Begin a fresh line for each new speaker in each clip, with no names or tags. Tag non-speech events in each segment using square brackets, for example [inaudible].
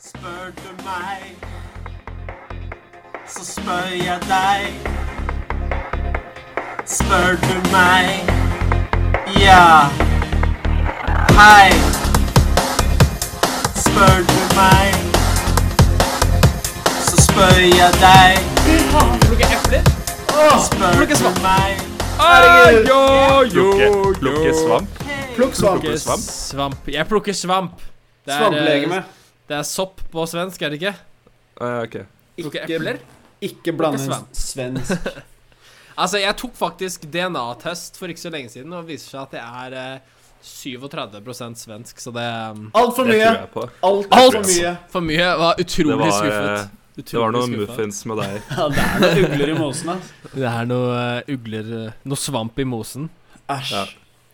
Spør du meg, så spør jeg deg. Spør du meg, ja. Hei. Spør du meg, så spør jeg deg.
Plukke epler?
Spør
Plukke
du
svamp.
meg,
Herregud!
Plukke, plukke svamp.
Plukk svamp.
Plukke
svamp.
svamp. Jeg plukker svamp. Det er,
Svamplegeme.
eh, det er sopp på svensk, er det ikke?
Eh, ok.
Plukke epler?
Ikke blande inn
svamp. [laughs]
svensk.
Altså, jeg tok faktisk DNA-test for ikke så lenge siden, og det viser seg at jeg er eh, 37 svensk, så det um,
Altfor
Det
mye.
tror jeg på.
Altfor
Alt.
mye.
For mye var utrolig
Det var, eh,
skuffet.
Det var
Utrolig
noen
skuffet.
muffins med deg.
Ja, det er noen ugler i mosen, ass.
Det er noe eh, ugler eh, Noe svamp i mosen.
Æsj.
Ja.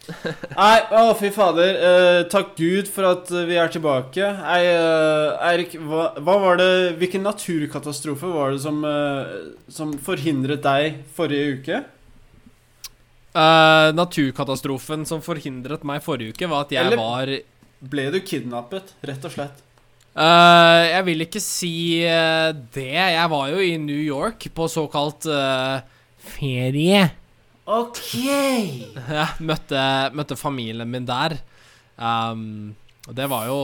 Nei, å fy fader. Eh, takk Gud for at eh, vi er tilbake. Nei, eh, Eirik, hva, hva var det Eh, Hvilken naturkatastrofe var det som, eh, som forhindret deg forrige uke?
Eh, naturkatastrofen som forhindret meg forrige uke, var at jeg
Eller-
var
Ble du kidnappet, rett og slett?
Eh, jeg vil ikke si eh, det. Jeg var jo i New York på såkalt eh, ferie. [laughs]
OK!
Ja, møtte, møtte familien min der. Um, og det var jo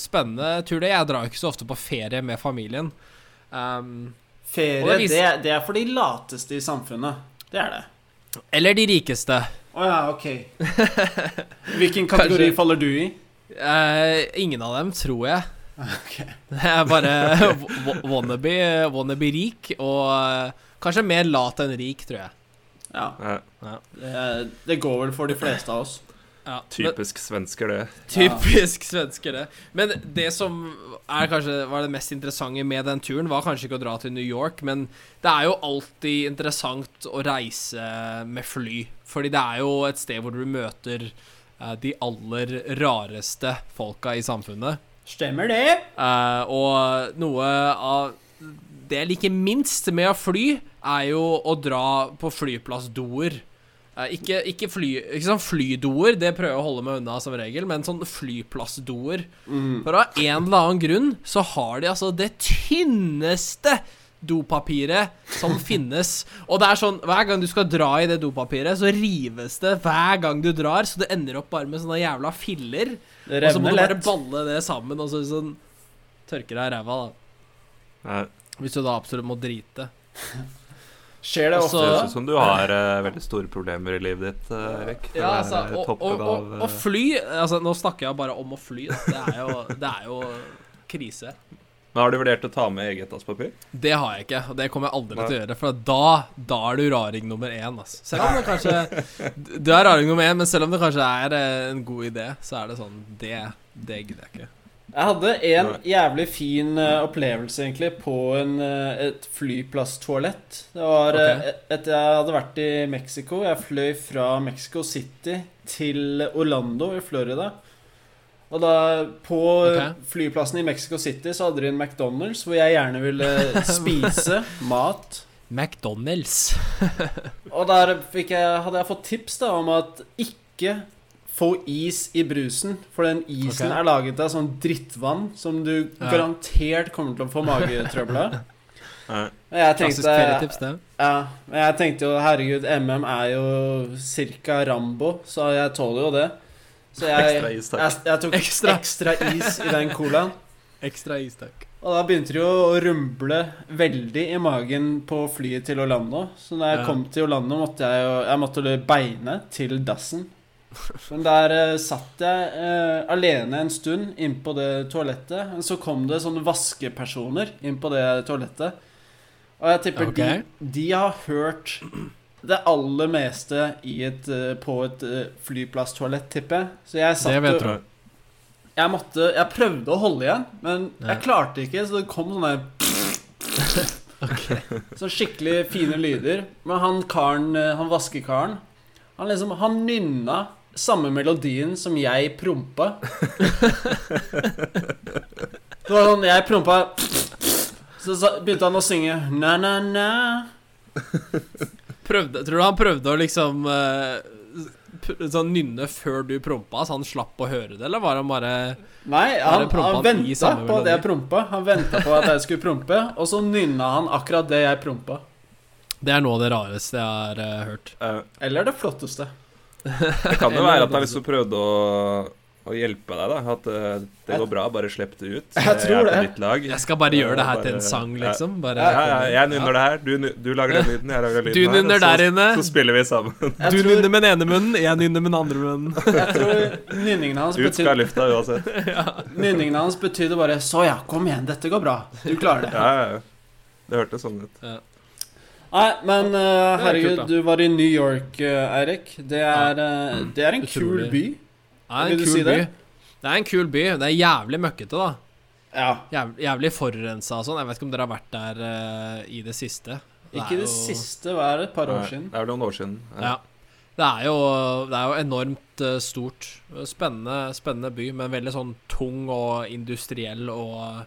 spennende tur, det. Jeg drar jo ikke så ofte på ferie med familien. Um, Og
Ferie,
det vis-
det, det er for de lateste i samfunnet. Det er det.
eller de rikeste.
Å ja, OK. Hvilken kategori
Kanskje-
faller du i?
Eh, ingen av dem, tror jeg.
[laughs] Ok.
Det er bare
[laughs]
wa- wannabe, wannabe rik, og eh, kanskje mer lat enn rik, tror jeg.
Ja,
Eh,
det, det går vel for de fleste av oss.
Ja, men-
typisk svensker, det.
Typisk svensker, det. Men det som er kanskje var det mest interessante med den turen, var kanskje ikke å dra til New York, men det er jo alltid interessant å reise med fly. Fordi det er jo et sted hvor du møter eh, de aller rareste folka i samfunnet.
Stemmer det?
Eh, og noe av det jeg liker minst med å fly, er jo å dra på flyplassdoer. Eh, ikke, ikke, fly, ikke sånn flydoer, det prøver jeg å holde meg unna som regel, men sånn flyplassdoer. For av en eller annen grunn så har de altså det tynneste dopapiret som finnes. Og det er sånn, hver gang du skal dra i det dopapiret, så rives det hver gang du drar, så det ender opp bare med sånne jævla filler.
Det
Og så må
revner
du bare
lett.
balle det sammen og så sånn tørke deg i ræva, da.
Eh,
Hvis du da absolutt må drite.
Skjer det
Og
ofte?
Det
så-
høres ut som du har eh, veldig store problemer i livet ditt, eh, Erik. for
Ja,
å
altså,
være
og,
toppen
og, og,
av, eh,
og fly altså, Nå snakker jeg bare om å fly. da. Det er jo, det er jo krise.
Men har du vurdert å ta med eget dasspapir?
Det har jeg ikke, og det kommer jeg aldri til å gjøre. For da, da er du raring nummer én. Altså. Selv om det kanskje
[laughs]
Du er raring nummer én, men selv om det kanskje er eh, en god idé, så er det sånn Det, det gidder jeg ikke.
Jeg hadde en
Nei.
jævlig fin eh, opplevelse, egentlig, på en, eh, et flyplasstoalett. Det var
Ok.
eh, etter jeg hadde vært i Mexico. Jeg fløy fra Mexico City til Orlando i Florida. Og da, på eh,
Ok.
flyplassen i Mexico City så hadde de en McDonald's hvor jeg gjerne ville
[laughs]
spise mat.
McDonald's.
Og der fikk jeg, hadde jeg fått tips da om at ikke få is i brusen, for den isen
Ok.
er laget av sånn drittvann som du
Ja.
garantert kommer til å få
[laughs]
magetrøbbel av.
Eh,
Og Jeg
Klassisk
tenkte,
ferietips, det.
ja, men jeg tenkte jo herregud, MM er jo ca. Rambo, så jeg tåler jo det. Så
ekstra
jeg,
is, takk.
jeg, jeg tok
Ekstra.
ekstra is i den colaen.
Ekstra is, takk.
Og da begynte det jo å rumble veldig i magen på flyet til Orlando. Så når jeg
Ja.
kom til Orlando, måtte jeg jo jeg måtte beine til dassen. Men der eh, satt jeg eh, alene en stund inn på det toalettet. Men så kom det sånne vaskepersoner inn på det toalettet. Og jeg tipper
Ok.
de, de har hørt det aller meste i et, eh, på et eh, flyplasstoalett, tipper jeg. Så jeg satt
Det
jo-
vet du.
jeg måtte Jeg prøvde å holde igjen, men
Ja.
jeg klarte ikke, så det kom sånne
[laughs]
Sånn skikkelig fine lyder. Men han karen, eh, han vaskekaren, han liksom Han nynna samme melodien som jeg prompa. Det var sånn Jeg prompa Så sa- begynte han å synge na-na-na.
Prøvde, tror du han prøvde å liksom eh, p- sånn nynne før du prompa, så han slapp å høre det, eller var han bare
Nei,
Da er
han,
det prompa
han
at vi
venta
samme
på at jeg
melodi.
prompa. Han venta på at jeg skulle prompe, og så nynna han akkurat det jeg prompa.
Det er noe av det rareste jeg har eh, hørt.
Eh,
Eller det flotteste.
Det
[laughs]
kan jo
Eller
være at han
danse.
liksom prøvde å, å hjelpe deg, da. At eh, det går bra, bare slipp det ut.
Jeg tror
er på
det.
ditt lag.
Jeg skal bare
Ja,
gjøre det her
bare-
til en sang,
ja.
liksom. Bare,
Ja, ja, jeg nynner det her, du, ny- du lager den lyden, jeg lager den lyden
Du
her, og
nynner
så-
der inne.
Så spiller vi sammen.
Jeg
Du
tror,
nynner med den ene munnen, jeg nynner med den andre munnen.
jeg tror nynningen hans,
Ut skal
betyd,
lufta uansett.
nynningen hans betydde bare 'Så ja, kom igjen, dette går bra. Du klarer det'.
Ja, ja, ja. Det hørtes sånn ut.
Nei, men eh,
Det er kult,
herregud,
da.
du var i New York, eh, Eirik. Det er, eh, det er en kul
Utrolig.
by.
Det er
Vil
en
du
kul
si
by.
det?
Det er en kul by. Det er jævlig møkkete, da.
Ja.
Jævlig, jævlig forurensa og sånn. Jeg vet ikke om dere har vært der eh, i det siste.
Ikke
er
det
jo-
siste, hva er det, et par år
Nei,
siden?
Det er vel noen år siden.
Ja. Det er jo, det er jo enormt eh, stort. Spennende, spennende by, men veldig sånn tung og industriell og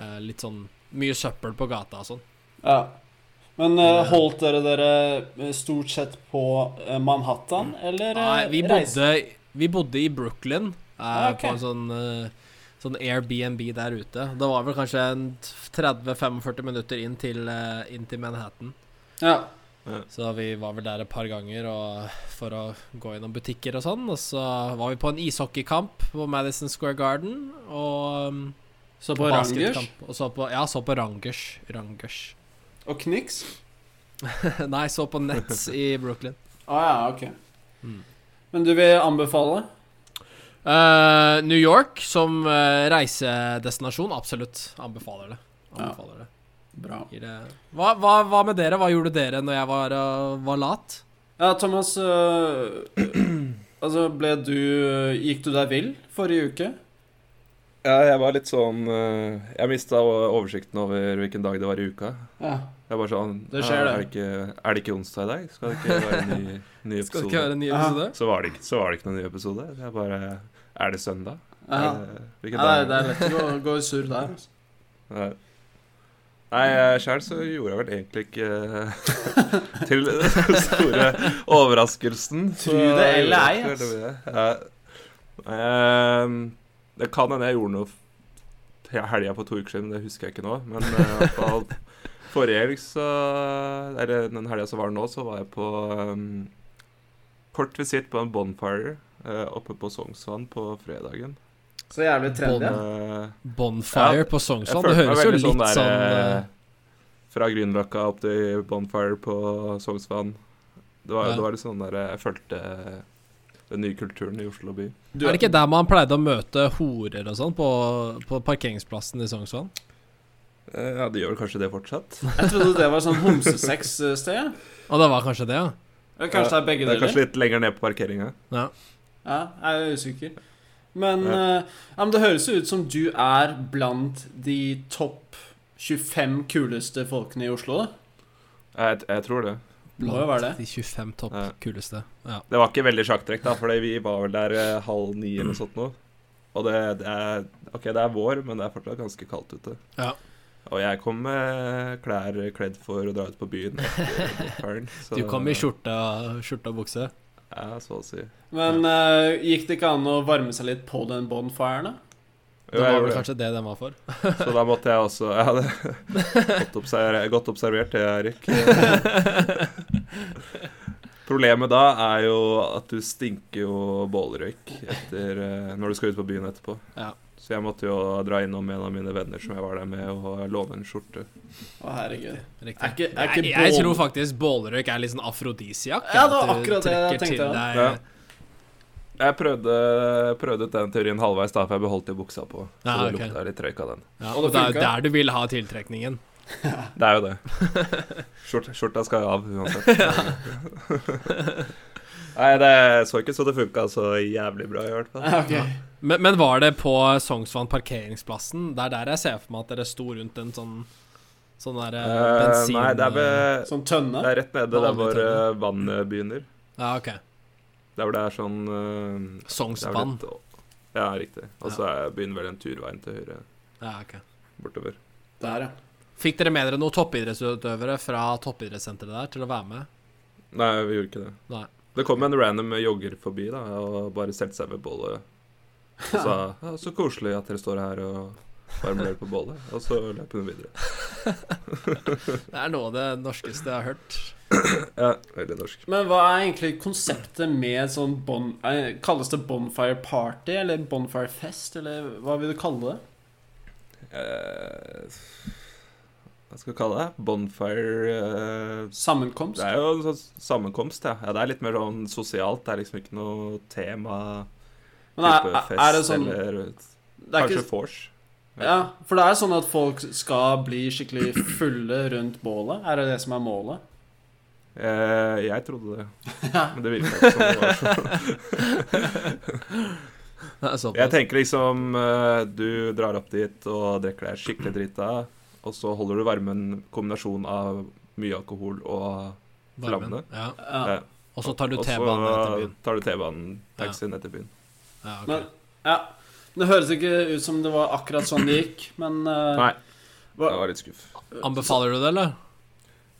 eh, litt sånn mye søppel på gata og sånn.
Ja. Men eh, holdt dere dere eh, stort sett på eh, Manhattan, eller eh,
Nei, vi
reiste-
bodde, vi bodde i Brooklyn, eh,
Ah, ok.
på en sånn, eh, sånn Airbnb der ute. Det var vel kanskje en 30-45 minutter inn til, eh, inn til Manhattan.
Ja.
Så vi var vel der et par ganger og, for å gå innom butikker og sånn. Og så var vi på en ishockeykamp på Madison Square Garden. Og um,
Så på Rangers
basketkamp. Og så på, ja, så på Rangers. Rangers. [laughs]
og Knicks?
Nei, så på Nets i Brooklyn.
Å Ah, ja, ok.
Mm.
Men du vil anbefale?
Eh, New York som eh, reisedestinasjon, absolutt. Anbefaler det. Anbefaler det.
Bra.
Gir det. Hva, hva, hva med dere? Hva gjorde dere når jeg var, eh, var lat?
Ja, Thomas øh, [clears throat] Altså, ble du eh, Gikk du deg vill forrige uke?
Ja, jeg var litt sånn eh, Jeg mista oversikten over hvilken dag det var i uka.
Ja.
Jeg var sånn
Det
«Ja,
skjer,
Er
det.
det ikke, er det ikke onsdag i dag? Skal det ikke være
[laughs]
en ny,
Skal det
ny
ikke
episode?
være en ny
Ja.
episode?
Så var det ikke, så var det ikke noen ny episode. Jeg bare Er det søndag?
ja.
Er det- Hvilken
Nei,
dag?
det er lett å gå, gå sur der. altså.
Nei. Nei, sjøl så gjorde jeg vel egentlig ikke eh, [laughs] Til den store overraskelsen. så
Tro det eller ei,
gjorde jeg
ass.
ikke veldig mye. Ja. Nei, ehm, Det kan hende jeg gjorde noe f- he- helga på to uker siden, det husker jeg ikke nå. Men eh, i hvert fall forrige helg, så Eller den helga som var nå, så var jeg på ehm, kort visitt på en bonfire eh, oppe på Sognsvann på fredagen.
Så jævlig trendy. ja.
Eh,
Bonfire
Ja,
på
jeg
Sognsvann. Det
følte meg
høres jo
veldig
litt
sånn
sånn,
der eh,
eh,
Fra Grünerløkka opp til Bonfire på Sognsvann. Det var,
Ja.
det var litt sånn der Jeg følte eh, den nye kulturen i Oslo by.
Du-
Er det ikke der man pleide å møte horer og sånn, på, på parkeringsplassen i Sognsvann?
Eh, Ja, de gjør vel kanskje det fortsatt?
Jeg trodde det var sånn homsesex-sted.
Og det var kanskje det, ja?
Eller kanskje det er begge
Det er
deler?
kanskje litt lenger ned på parkeringa.
ja.
Ja, jeg er usikker. Men,
Ja.
eh, ja, men det høres jo ut som du er blant de topp 25 kuleste folkene i Oslo. da.
Jeg, jeg tror det.
Må jo være det.
de 25 topp
Ja.
kuleste. Ja.
Det var ikke veldig sjakktrekk, da, for vi var vel der eh, halv ni eller noe sånt nå. Og det, det er OK, det er vår, men det er fortsatt ganske kaldt ute.
Ja.
Og jeg kom med klær kledd for å dra ut på byen.
[laughs]
etter bonfiren, så-
Du kom i skjorte og, skjorte og bukse.
Ja, så å si.
Men eh, gikk det ikke an å varme seg litt på den bonfiren, da?
Det
Jo, jeg
var
gjorde
vel
det.
kanskje det den var
[laughs]
for.
Så da måtte jeg også [laughs] Jeg hadde godt, observer, godt observert det, Erik.
[laughs]
Problemet da er jo at du stinker jo bålrøyk etter, eh, når du skal ut på byen etterpå.
Ja.
Så jeg måtte jo dra innom en av mine venner som jeg var der med, og låne en skjorte.
Å, herregud.
Riktig.
Er ikke, er
jeg,
ikke
jeg
bål-
tror faktisk bålrøyk er litt sånn afrodisiak.
Ja, det var
at du
akkurat det jeg
trekker
tenkte
til
også.
deg-
Ja. Jeg prøvde, prøvde ut den teorien halvveis, da, for jeg beholdt det i buksa på. Så
Ja,
det
Ah, ok.
lukta litt røyk av den.
Ja,
Og det
og det er jo
funka.
der du vil ha tiltrekningen.
Det er jo det. Skjorta, skjorta skal jo av uansett. [laughs] Nei, det så ikke så det funka så jævlig bra, i hvert fall.
Ja, [laughs] ok.
Men, men var det på Sognsvann parkeringsplassen? Det er der jeg ser for meg at dere sto rundt en sånn Sånn der eh,
Eh,
bensin...
Nei, det er, ved,
Sånn tønne?
det er rett nede der
Vanlig
hvor
tønne.
eh, vannet begynner.
Ja, ok.
Der hvor det er sånn eh, det er vel
Sognsvann.
et- Ja, riktig. Og så er- begynner vel en turveien til høyre
Ja, ok.
bortover.
Der, ja.
Fikk dere med dere noen toppidrettsutøvere fra toppidrettssenteret der til å være med?
Nei, vi gjorde ikke det.
Nei.
Det kom en random jogger forbi da, og bare stelte seg ved bålet og sa ja, 'Så koselig at dere står her og varmer dere på bålet', og så løp hun videre.
Det er noe av det norskeste jeg har [laughs] hørt.
Ja, veldig norsk.
Men hva er egentlig konseptet med sånn bon... eh, Kalles det bonfire party, eller bonfire fest, eller hva vil du kalle det?
Eh, hva skal vi kalle det? Bonfire eh,
Sammenkomst?
Det er jo en sånn sammenkomst, ja. ja. Det er litt mer sånn sosialt. Det er liksom ikke noe tema,
Men er,
type
er,
fest
er det sånn
eller
det er
Kanskje
ikke,
vors.
Ja, for det er sånn at folk skal bli skikkelig fulle rundt bålet? Er det det som er målet?
Eh, jeg trodde det,
[laughs]
men det virka ikke som det var sånn.
Det er
Jeg
såpass.
tenker liksom eh, Du drar opp dit og drikker deg skikkelig drita, og så holder du varmen kombinasjon av mye alkohol og
Varmen.
flammene.
Ja.
Ja.
eh,
Og så tar du
Og
T-banen etter
så eh,
byen.
tar du T-banen, taxi ned til byen.
Ja, ok.
Men, ja. Det høres ikke ut som det var akkurat sånn det gikk, men eh,
Nei,
hva-
jeg var litt skuff.
Anbefaler du det, eller?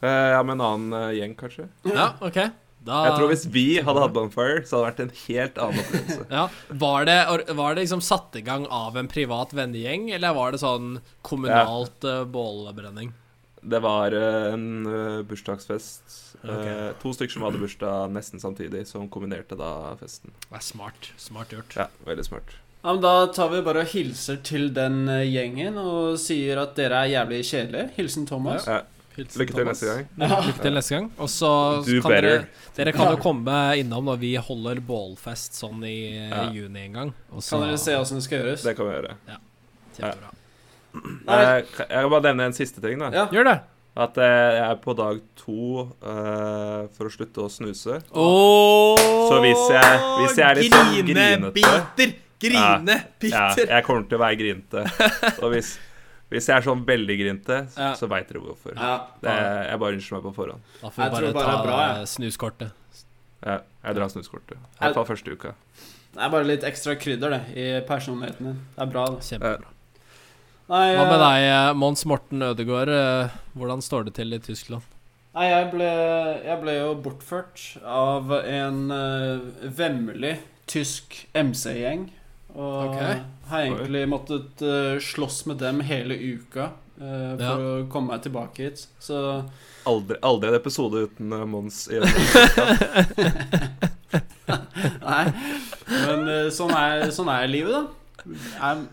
Eh, ja, med en annen eh, gjeng, kanskje.
Ja, OK. Da
Jeg tror hvis vi hadde hatt Bonfire, så hadde det vært en helt annen
[laughs]
opplevelse.
ja. Var det, or- var det liksom satt i gang av en privat vennegjeng, eller var det sånn kommunalt eh, bålbrenning?
Det var eh, en eh, bursdagsfest. Eh,
Ok.
To stykker som hadde bursdag nesten samtidig, som kombinerte da festen.
Det er smart. Smart gjort.
Ja, Veldig smart.
Ja, men Da tar vi bare og hilser til den eh, gjengen og sier at dere er jævlig kjedelige. Hilsen Thomas.
Ja. Lykke til neste gang.
Lykke til neste gang. Og så
Do
kan dere,
better.
dere kan jo komme innom når vi holder bålfest sånn i eh,
Ja.
juni en gang. Og så
Kan dere se åssen det skal gjøres?
Det kan vi gjøre.
Kjempebra.
Nei.
Eh, Jeg kan bare nevne en siste ting. da
Ja.
Gjør det!
At eh, jeg er på dag to eh, for å slutte å snuse. Så hvis jeg, hvis jeg er litt sånn grinete
Grinebiter!
ja,
Grinebiter!
Jeg kommer til å være grinete. Og hvis, hvis jeg er sånn veldig grinete,
Ja.
så veit dere hvorfor.
Ja.
Det, jeg bare unnskylder meg på forhånd.
Da får vi
Jeg tror
bare
bare det
ta
er bra, jeg.
eh, snuskortet.
Ja, jeg drar snuskortet. I hvert fall første uka.
Det er bare litt ekstra krydder det, i personligheten din. Det er bra. det.
Kjempebra.
Nei,
Hva med
eh,
deg, eh, Mons Morten Ødegaard? eh, Hvordan står det til i Tyskland?
Nei, jeg ble, jeg ble jo bortført av en eh, vemmelig tysk MC-gjeng. Og
Ok.
har egentlig måttet eh, slåss med dem hele uka eh, for
Ja.
å komme meg tilbake hit. Så [laughs]
Aldri, aldri en episode uten eh, Mons
[laughs]
i
Nei. Men eh, sånn, er, sånn er livet, da. Er,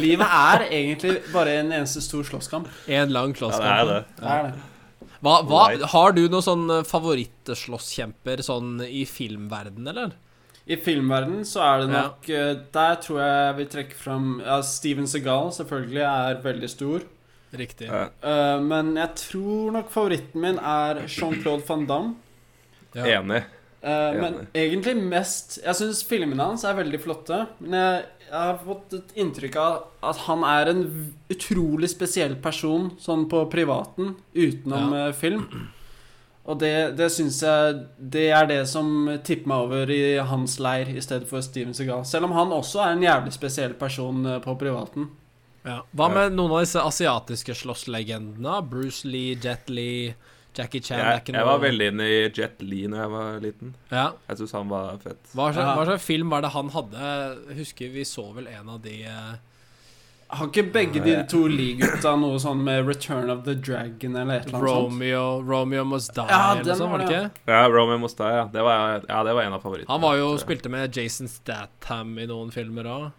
livet er egentlig bare en eneste stor slåsskamp.
En lang
Ja, det er
slåsskamp.
det.
Det er det.
hva, hva,
Right.
har du noen sånn eh, favorittslåsskjemper sånn i filmverden, eller?
I filmverden så er det
Ja.
nok eh, Der tror jeg jeg vil trekke fram ja, Steven Segal selvfølgelig er veldig stor.
Riktig.
Ja.
Eh, men jeg tror nok favoritten min er Jean-Claude van Damme.
Ja.
Enig.
Eh, men
Enig.
egentlig mest Jeg syns filmene hans er veldig flotte. Men jeg, jeg har fått et inntrykk av at han er en v- utrolig spesiell person sånn på privaten utenom
Ja.
eh, film. Og det, det syns jeg Det er det som tipper meg over i hans leir i stedet for Steven Segal. Selv om han også er en jævlig spesiell person eh, på privaten.
Ja. Hva med noen av disse asiatiske slåsslegendene? Bruce Lee, Jet Lee, Jackie Chan er
Jeg,
ikke
jeg
noe-
var veldig inne i Jet Lee når jeg var liten.
ja.
Jeg syns han var fett.
Hva slags,
Ja.
hva slags film var det han hadde? Jeg Husker vi så vel en av de eh,
Har ikke begge de to Lee-gutta noe sånn med Return of the Dragon eller et eller annet sånt?
Romeo Romeo Must Die
Ja,
eller
den
noe sånt, var det
var
ikke?
Ja, Romy Mostai, ja. Det var, ja, det var en av favorittene.
Han var jo
tror jeg.
spilte med Jason Statham i noen filmer òg.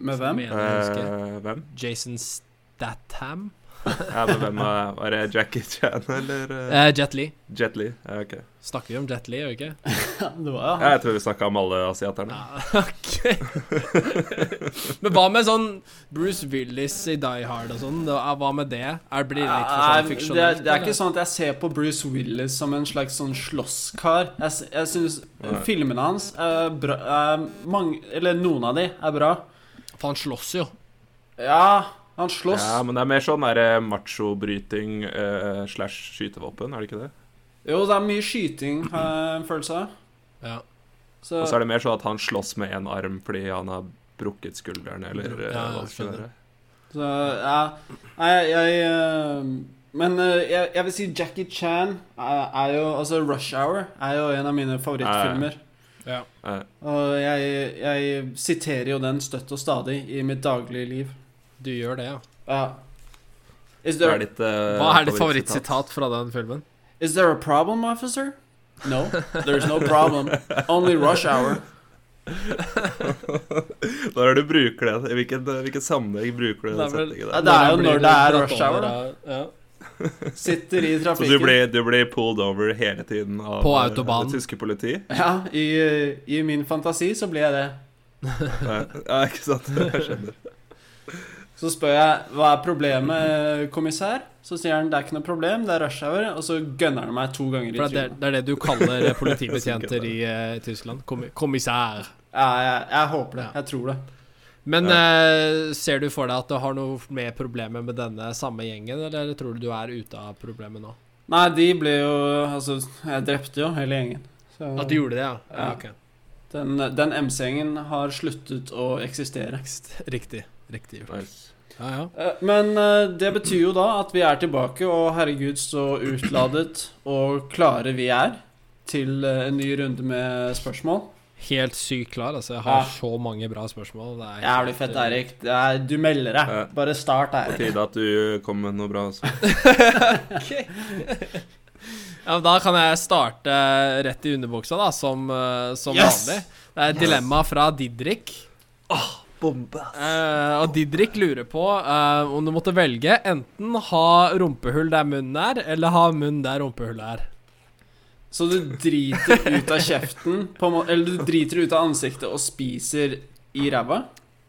Med hvem? [laughs]
Eh, hvem?
Jason Statham?
Ja, men hvem var, var det Jackie Chan eller eh,
Eh, Jet Lee.
Jet Lee? Ja, ok.
Snakker vi om Jet Lee, gjør vi ikke?
Ja, det var jo han.
Ja, jeg tror vi snakka om alle asiaterne.
Ja, [laughs] ok. Men hva med sånn Bruce Willis i Die Hard og sånn? Da- Hva med det? Er blir det litt for
Nei,
sånn
det, er,
fiksjonelt?
det er ikke
eller?
sånn at jeg ser på Bruce Willis som en slags sånn slåsskar. Jeg, s- jeg syns
Nei.
filmene hans er bra er mange, Eller noen av de er bra.
For han slåss jo.
Ja, han slåss.
Ja, men det er mer sånn derre machobryting eh, slash skytevåpen, er det ikke det?
Jo, det er mye skyting, har jeg en følelse av.
Ja.
Så
Og så er det mer sånn at han slåss med én arm fordi han har brukket skulderen, eller
Ja,
eh,
ja,
hva det skal
skjønner.
være.
Så ja Nei, jeg, jeg eh, Men eh, jeg, jeg vil si Jackie Chan er, er jo Altså Rush Hour er jo en av mine favorittfilmer.
Ja.
Eh,
Og jeg, jeg siterer jo den støtt og stadig i mitt daglige liv.
Du gjør det, ja.
Ja. Uh, Is
hva er
there,
ditt eh,
Hva er ditt favorittsitat fra den filmen?
is there a problem, officer? No, there's no problem. Only rush hour.
Når er det du bruker det? I hvilken, eh, hvilken sammenheng bruker du
Det
den
er vel-
setningen
Ja,
der?
det er jo
Blir
når
du
det er
dratt
rush hour,
over
da.
av- Ja.
Sitter i
Så du
trafikken.
blir, du blir pulled over hele tiden av
På
eh,
autobanen.
det tyske politiet?
Ja, i, i min fantasi så blir jeg det.
Ja, ja, ikke sant? [laughs] Jeg skjønner.
Så spør jeg hva er problemet, kommissær? Så sier han det er ikke noe problem, det er rush hour. Og så gønner han meg to ganger i
For det, er-
trynet.
det er det du
[laughs]
kaller politibetjenter i eh, Tyskland. Kommi- Kommissær.
Ja, jeg, jeg håper det. Jeg tror det.
Men eh, ser du for deg at du har noe mer problemer med denne samme gjengen, eller tror du du er ute av problemet nå?
Nei, de ble jo Altså, jeg drepte jo hele gjengen. Så
At du gjorde det, ja? ja
Ja.
ok.
den den MC-gjengen har sluttet å eksistere.
Riktig. Riktig gjort.
Nice.
Ja, ja.
Eh, Men eh, det betyr jo da at vi er tilbake, og herregud så utladet og klare vi er til eh, en ny runde med spørsmål.
Helt sykt klar, altså. Jeg har
Ja.
så mange bra spørsmål. Det er eh,
Jævlig fett, Erik. Det er, du melder deg.
Ja.
Bare start,
På
Erik.
tide at du kom med noe bra. altså. Også.
Ja, men da kan jeg starte eh, rett i underbuksa, da, som, eh, som
Yes!
vanlig. Det er et dilemma fra Didrik.
Bombe!
Eh, og Didrik lurer på eh, om du måtte velge enten ha rumpehull der munnen er, eller ha munn der rumpehullet er.
Så du driter ut av kjeften, på en må eller du driter ut av ansiktet og spiser i ræva?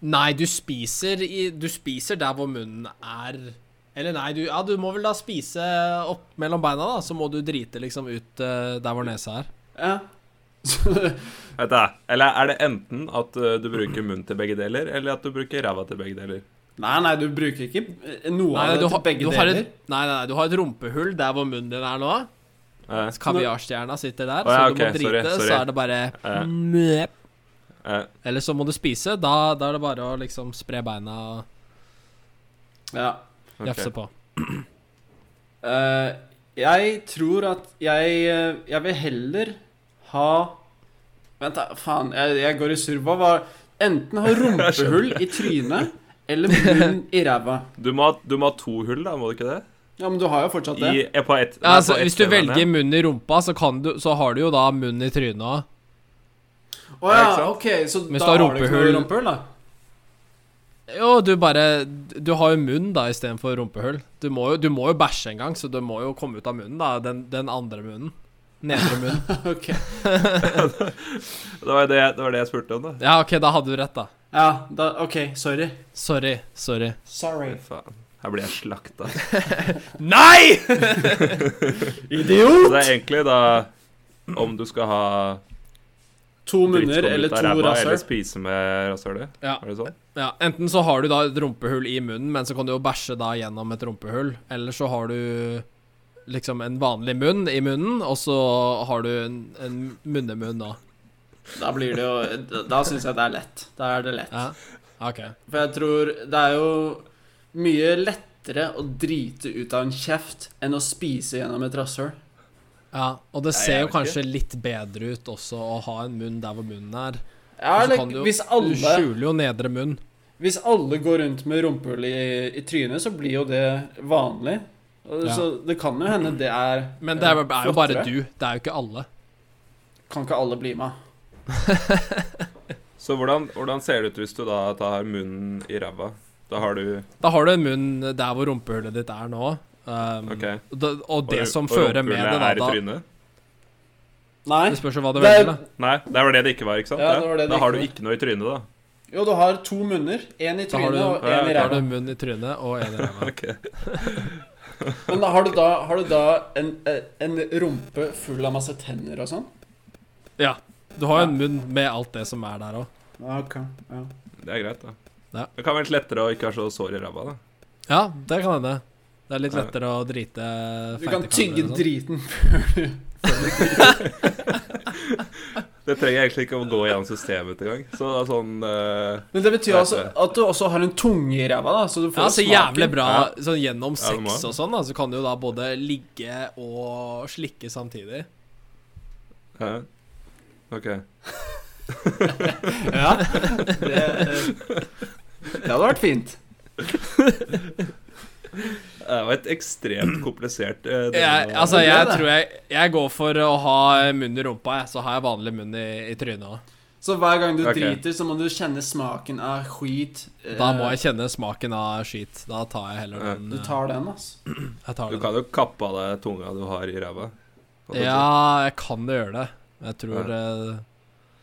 Nei, du spiser, i, du spiser der hvor munnen er Eller nei, du, ja, du må vel da spise opp mellom beina, da. Så må du drite liksom ut eh, der hvor nesa er.
Ja. Så,
Vet jeg. Eller er det enten at eh, du bruker munn til begge deler, eller at du bruker ræva til begge deler?
nei, nei, du bruker ikke eh, noe
Nei,
av
du
det
har-
til begge
du har et-
deler.
Nei, nei, nei, du har et rumpehull der hvor munnen din er nå.
Eh,
Kaviarstjerna sitter der,
Å, ja,
så du
ok,
må drite.
sorry, sorry.
Så er det bare
Ja.
Møp.
eh,
Eller så må du spise. Da, da er det bare å liksom spre beina og
Ja.
ok.
jafse på.
Eh, jeg tror at jeg eh, Jeg vil heller ha Vent, da. Faen, jeg, jeg går i surr. Hva var
[laughs]
Enten ha rumpehull i trynet eller munn i ræva.
Du, må ha, du må ha to hull, da, må du ikke det?
Ja, men du har jo fortsatt det.
I, eh, på ett-
Ja,
nei,
altså,
på ett
hvis du
tema,
velger
ja.
munn i rumpa, så, kan du, så har du jo da munn i trynet òg.
Å ja,
ikke sant?
ok, så
Mens du
da
har
har du ikke noe
rumpehull-
rumpehull, da? [laughs]
Jo, du bare Du har jo munn da istedenfor rumpehull. Du må, jo, du må jo bæsje en gang, så du må jo komme ut av munnen, da. Den, den andre munnen. Nedre munn.
[laughs]
Ok.
Det var det, det var det jeg spurte om, da.
Ja, OK, da hadde du rett, da.
Ja, da, ok, sorry.
Sorry. Sorry.
Sorry.
Fy Faen. Her blir jeg slakta. [laughs]
Nei!
Så
[laughs] Idiot!
det er egentlig da om du skal ha
To munner
drittskål
eller
ut av
to
ræva, eller
rasshøl.
spise med rasshølet?
Ja.
Er det sånn?
ja. Enten så har du da et rumpehull i munnen, men så kan du jo bæsje da gjennom et rumpehull. Eller så har du liksom en vanlig munn i munnen, og så har du en, en munnemunn da.
Da blir det jo Da syns jeg det er lett. Da er det lett.
Ja. OK.
For jeg tror det er jo mye lettere å drite ut av en kjeft enn å spise gjennom et rasshøl.
Ja, og det
Nei,
ser
jeg
jo
vet
kanskje litt bedre ut også å ha en munn der hvor munnen er.
Ja,
Og så
eller
kan du jo-
hvis
Du
alle,
skjuler jo nedre munn.
hvis alle går rundt med rumpehull i, i trynet, så blir jo det vanlig. Og
Ja.
Så det kan jo hende det er
Men det er, jo- er jo bare
flottere.
du, det er jo ikke alle.
Kan ikke alle bli med.
Så hvordan, hvordan ser det ut hvis du da tar munnen i ræva? Da har du
Da har du en munn der hvor rumpehullet ditt er nå. Um,
OK.
Mm.
og det- og det
Og-
som
og
fører med det,
rumpehullet
da,
er i
da
trynet?
Nei.
Det spørs jo hva du
Det er-
velger, da.
Nei, det var det det ikke var, ikke sant?
Ja, det var det det
da
ikke
har du
var.
ikke noe i trynet, da.
[laughs] Jo, du har to munner. Én i
Da har du,
trynet og
ja,
én i
da har du
ræva.
en munn i trynet og en i ræva.
Ok.
Men da har du da, har du da en, eh, en rumpe full av masse tenner og sånn?
Ja. Du har jo en munn med alt det som er der òg.
Ok, ja.
Det er greit, da.
Ja.
Det kan være litt lettere å ikke ha så sår i ræva, da.
Ja, det kan hende. Det er litt
Ja.
lettere å drite
Du kan
sånn. feite kameraer
tygge
og sånn.
driten
Det trenger egentlig ikke å gå gjennom systemet engang. Så det er sånn eh,
Men det betyr altså at du også har en tunge i ræva, da, så du får
Ja, så
smaken.
jævlig bra
Ja.
sånn gjennom
Ja, det må.
sex og sånn, da, så kan du jo da både ligge og slikke samtidig.
ja. OK.
[laughs]
Ja. [laughs] Det, eh, det hadde vært fint.
Det var et ekstremt komplisert eh, del
Jeg,
av-
altså,
det er
jeg
det.
tror jeg Jeg går for å ha munn i rumpa, jeg. Så har jeg vanlig munn i, i trynet òg.
Så hver gang du
Ok.
driter, så må du kjenne smaken av skit. eh,
Da må jeg kjenne smaken av skit. Da tar jeg heller
Ja.
den.
Du
eh,
tar den, altså.
Jeg tar
Du
den.
kan jo kappe av deg tunga du har i ræva. Altså,
Ja, jeg kan gjøre det. Jeg tror eh,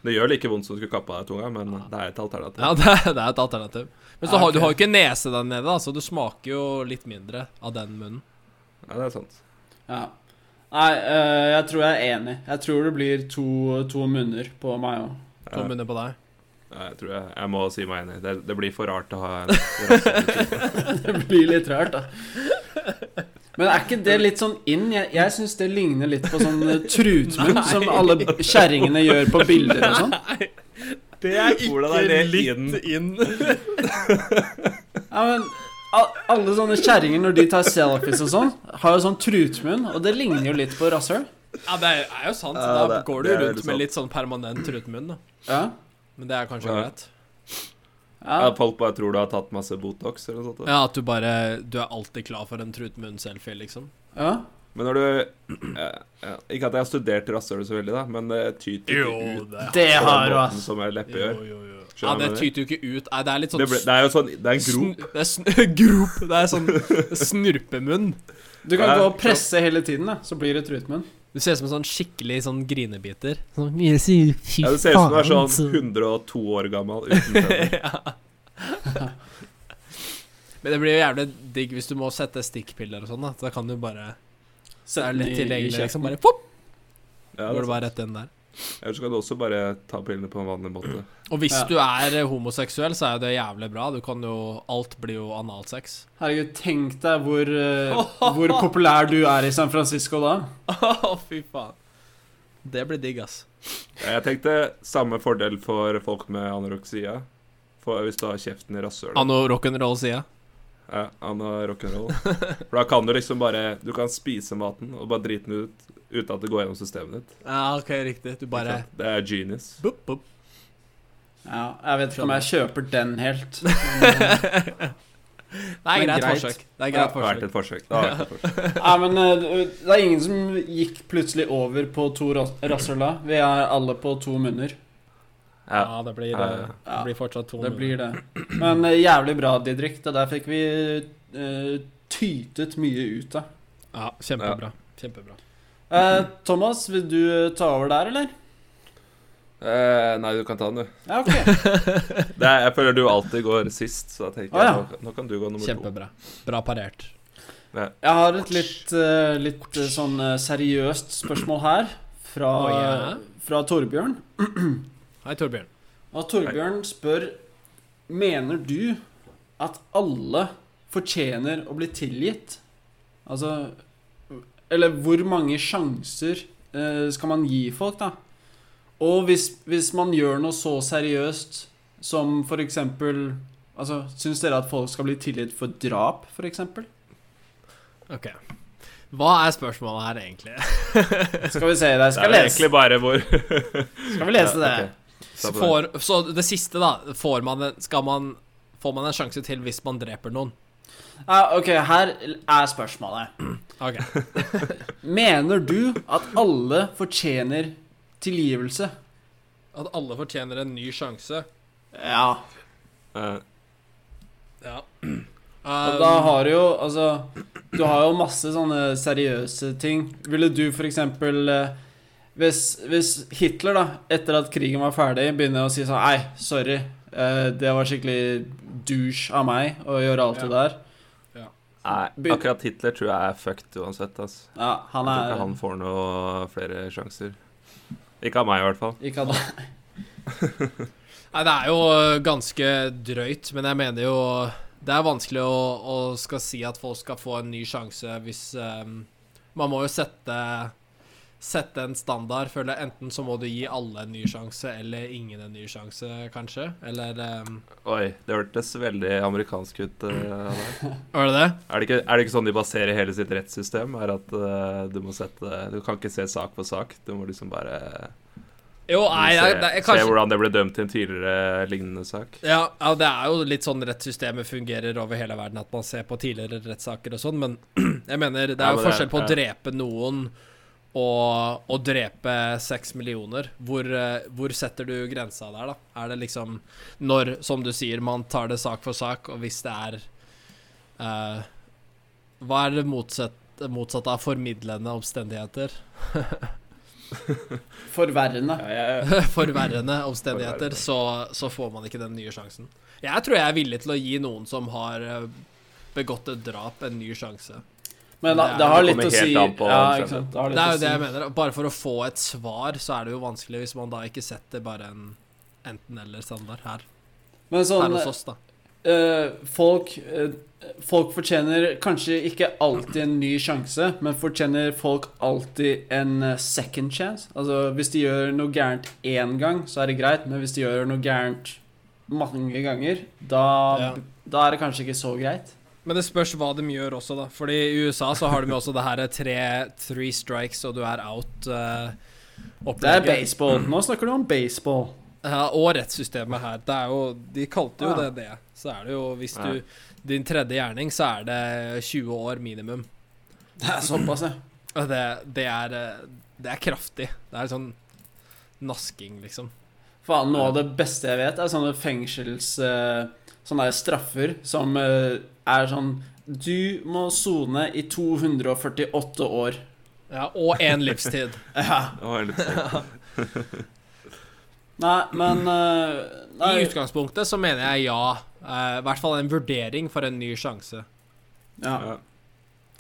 Det gjør like vondt som du skulle kappe av deg tunga, men det er et alternativ.
Ja, det, er- det er et alternativ. Men så
Ja,
har, du
ok.
har jo ikke nese der nede, da, så du smaker jo litt mindre av den munnen.
Ja, det er sant.
Ja. Nei, eh, jeg tror jeg er enig. Jeg tror det blir to, to munner på meg òg.
To munner på deg.
Ja, jeg tror jeg, jeg må si meg enig. Det, det blir for rart å ha
[laughs]
en rassel.
[laughs] Det blir litt rart, da. Men er ikke det litt sånn inn? Jeg, jeg syns det ligner litt på sånn eh, [laughs] trutmunn som alle kjerringene gjør på bilder og sånn.
Det er hvordan er det inn?
inn.
Ja, men al- alle sånne kjerringer når de tar selfies og sånn, har jo sånn trutmunn, og det ligner jo litt på rasshøl.
Ja, det er er jo sant.
Ja,
Da
det-
går du
det er
rundt
veldig
med
sant.
litt sånn permanent trutmunn, da.
Ja.
Men det er kanskje
Ja.
greit.
ja.
Ja, folk bare tror du har tatt masse Botox eller noe sånt. da.
Ja, at du bare Du er alltid klar for en trutmunn-selfie, liksom.
ja.
Men når du [clears throat] eh, ja, Ikke at jeg har studert rasshøl så veldig, da, men det tyter ikke ut
det
Det
på
har
den
du,
måten
ass.
som ei leppe
jo,
gjør.
jo, jo.
Skjønner
Ja,
du
det
hva jeg
tyter jo ikke ut. Nei, det er litt sånn
Det, ble, det er jo sånn Det er en
sn-
grop.
Det er sn [laughs] grop. Det er sånn snurpemunn.
Du kan gå og presse hele tiden, da, så blir det trutmunn.
Du ser ut som en sånn skikkelig sånn grinebiter. Sånn
Ja, det ser ut som du er sånn 102 år gammel uten
[laughs]
tenner.
Men det blir jo jævlig digg hvis du må sette stikkpiller og sånn, da. Da kan du bare Det er lett tilgjengelig, liksom. Bare pop,
Ja,
går
det
du bare rett inn der.
Eller så kan du også bare ta pillene på en vanlig måte.
Og hvis
Ja.
du er eh, homoseksuell, så er jo det jævlig bra. Du kan jo Alt blir jo analsex.
Herregud, tenk deg hvor, eh, hvor populær du er i San Francisco da.
Å, fy faen. Det blir digg, ass.
Jeg tenkte samme fordel for folk med anoroksia. For hvis du har kjeften i rasshølet.
Anno rock'n'roll, sier jeg.
Ja, Anorock'n'roll. For da kan du liksom bare Du kan spise maten og bare drite den ut uten at det går gjennom systemet ditt.
Ja, OK, riktig. Du bare
Ikke sant? Det er genius.
Bup, [laughs] bup.
Ja, jeg vet ikke om jeg kjøper den helt.
Det er
Men
greit
greit.
forsøk. Det er
Det
greit
har vært
forsøk.
et forsøk. Det har
[laughs]
vært et forsøk.
[laughs] Ja, men eh, det er ingen som gikk plutselig over på to ras- rasshøl da. Vi er alle på to munner.
Ja.
Ja, det blir,
Ja, ja, ja.
eh, det blir fortsatt to
Det
minutter.
blir det. Men eh, jævlig bra, Didrik. Det der fikk vi eh, tytet mye ut av.
Ja, kjempebra. Kjempebra.
Eh, Thomas, vil du eh, ta over der, eller?
Eh, nei, du kan ta den, du.
[laughs]
Ja, ok.
Det er, jeg føler du alltid går sist, så da tenker
Å,
jeg
ja.
nå, nå kan du gå nummer to.
Kjempebra. Bra parert.
Jeg har et litt, eh, litt eh, sånn eh, seriøst spørsmål her fra,
Å, ja.
fra Torbjørn.
Hei, Torbjørn.
Og Torbjørn spør Mener du at alle fortjener å bli tilgitt? Altså Eller hvor mange sjanser eh, skal man gi folk, da? Og hvis, hvis man gjør noe så seriøst som for eksempel Altså, syns dere at folk skal bli tilgitt for drap, for eksempel?
OK. Hva er spørsmålet her, egentlig?
[laughs] Skal vi se det.
Det er
Skal,
vel
lese.
egentlig bare hvor [laughs]
skal vi lese det?
Så, får, så det siste, da. Får man en, skal man, får man en sjanse til hvis man dreper noen?
Ja, ok, her er spørsmålet.
[laughs] OK.
Mener du at alle fortjener tilgivelse?
At alle fortjener en ny sjanse.
Ja.
Eh,
Ja.
Og da har du jo Altså, du har jo masse sånne seriøse ting. Ville du for eksempel eh, hvis, hvis Hitler, da, etter at krigen var ferdig, begynner å si sånn Nei, sorry. eh, Det var skikkelig douche av meg å gjøre alt det
Ja.
der.
Nei,
By-
akkurat Hitler tror jeg er fucked uansett, ass.
Ja, han
Jeg tror
er
ikke han får noe flere sjanser. Ikke av meg, i hvert fall.
Ikke han.
Nei, det er jo øh, ganske drøyt, men jeg mener jo Det er vanskelig å, å ehm, skal si at folk skal få en ny sjanse hvis øhm, Man må jo sette sette en standard, føler jeg. Enten så må du gi alle en ny sjanse, eller ingen en ny sjanse, kanskje. Eller um,
Oi, det hørtes veldig amerikansk ut. eh, der.
Var det det?
Er, det ikke, er det ikke sånn de baserer hele sitt rettssystem? Er at eh, du må sette Du kan ikke se sak for sak. Du må liksom bare
Jo, nei,
se,
jeg, det er
se
kanskje
hvordan det ble dømt i en tidligere lignende sak.
ja, ja, det er jo litt sånn rettssystemet fungerer over hele verden, at man ser på tidligere rettssaker og sånn, men [clears throat] jeg mener det er
Ja,
jo
men det er-
forskjell på å
ja.
drepe noen og å drepe seks millioner. Hvor, eh, hvor setter du grensa der, da? Er det liksom når, som du sier, man tar det sak for sak, og hvis det er eh, Hva er det motsatt- motsatte av formidlende omstendigheter?
Forverrende.
[laughs]
Ja, jeg,
forverrende omstendigheter,
Forverrende.
så, så får man ikke den nye sjansen. Jeg tror jeg er villig til å gi noen som har eh, begått et drap, en ny sjanse.
Men
Det
da,
er-
det har
det
litt
kommer
å si
helt
Ja,
an på omstendighetene.
ikke sant. Det har
Det er jo
litt
det jeg
å si.
mener. Bare for å få et svar, så er det jo vanskelig hvis man da ikke setter bare en enten-eller-standard her.
Men
Her
sånn
hos oss, da.
eh, Folk eh, Folk fortjener kanskje ikke alltid en ny sjanse, men fortjener folk alltid en eh, second chance? Altså, hvis de gjør noe gærent én gang, så er det greit, men hvis de gjør noe gærent mange ganger, da,
Ja.
da er det kanskje ikke så greit.
Men det spørs hva de gjør også, da. Fordi i USA så har de jo også det her eh, tre three strikes og du er out. eh,
Det er
opplegget.
baseball. Nå snakker du om baseball.
Ja, og rettssystemet her. Det er jo, de kalte jo
Ja.
det det. Så er det jo, hvis
Ja.
du Din tredje gjerning, så er det 20 år minimum.
Det er såpass, ja.
Og det, det er eh, Det er kraftig. Det er sånn nasking, liksom.
Faen, noe av det beste jeg vet, er sånne fengsels... eh, Sånne der straffer som eh, er sånn Du må sone i 248 år.
Ja, og én
[laughs]
livstid.
Ja.
det var litt sterkt.
Nei, men eh, nei,
I utgangspunktet så mener jeg ja. Eh, I hvert fall en vurdering for en ny sjanse.
ja.
ja.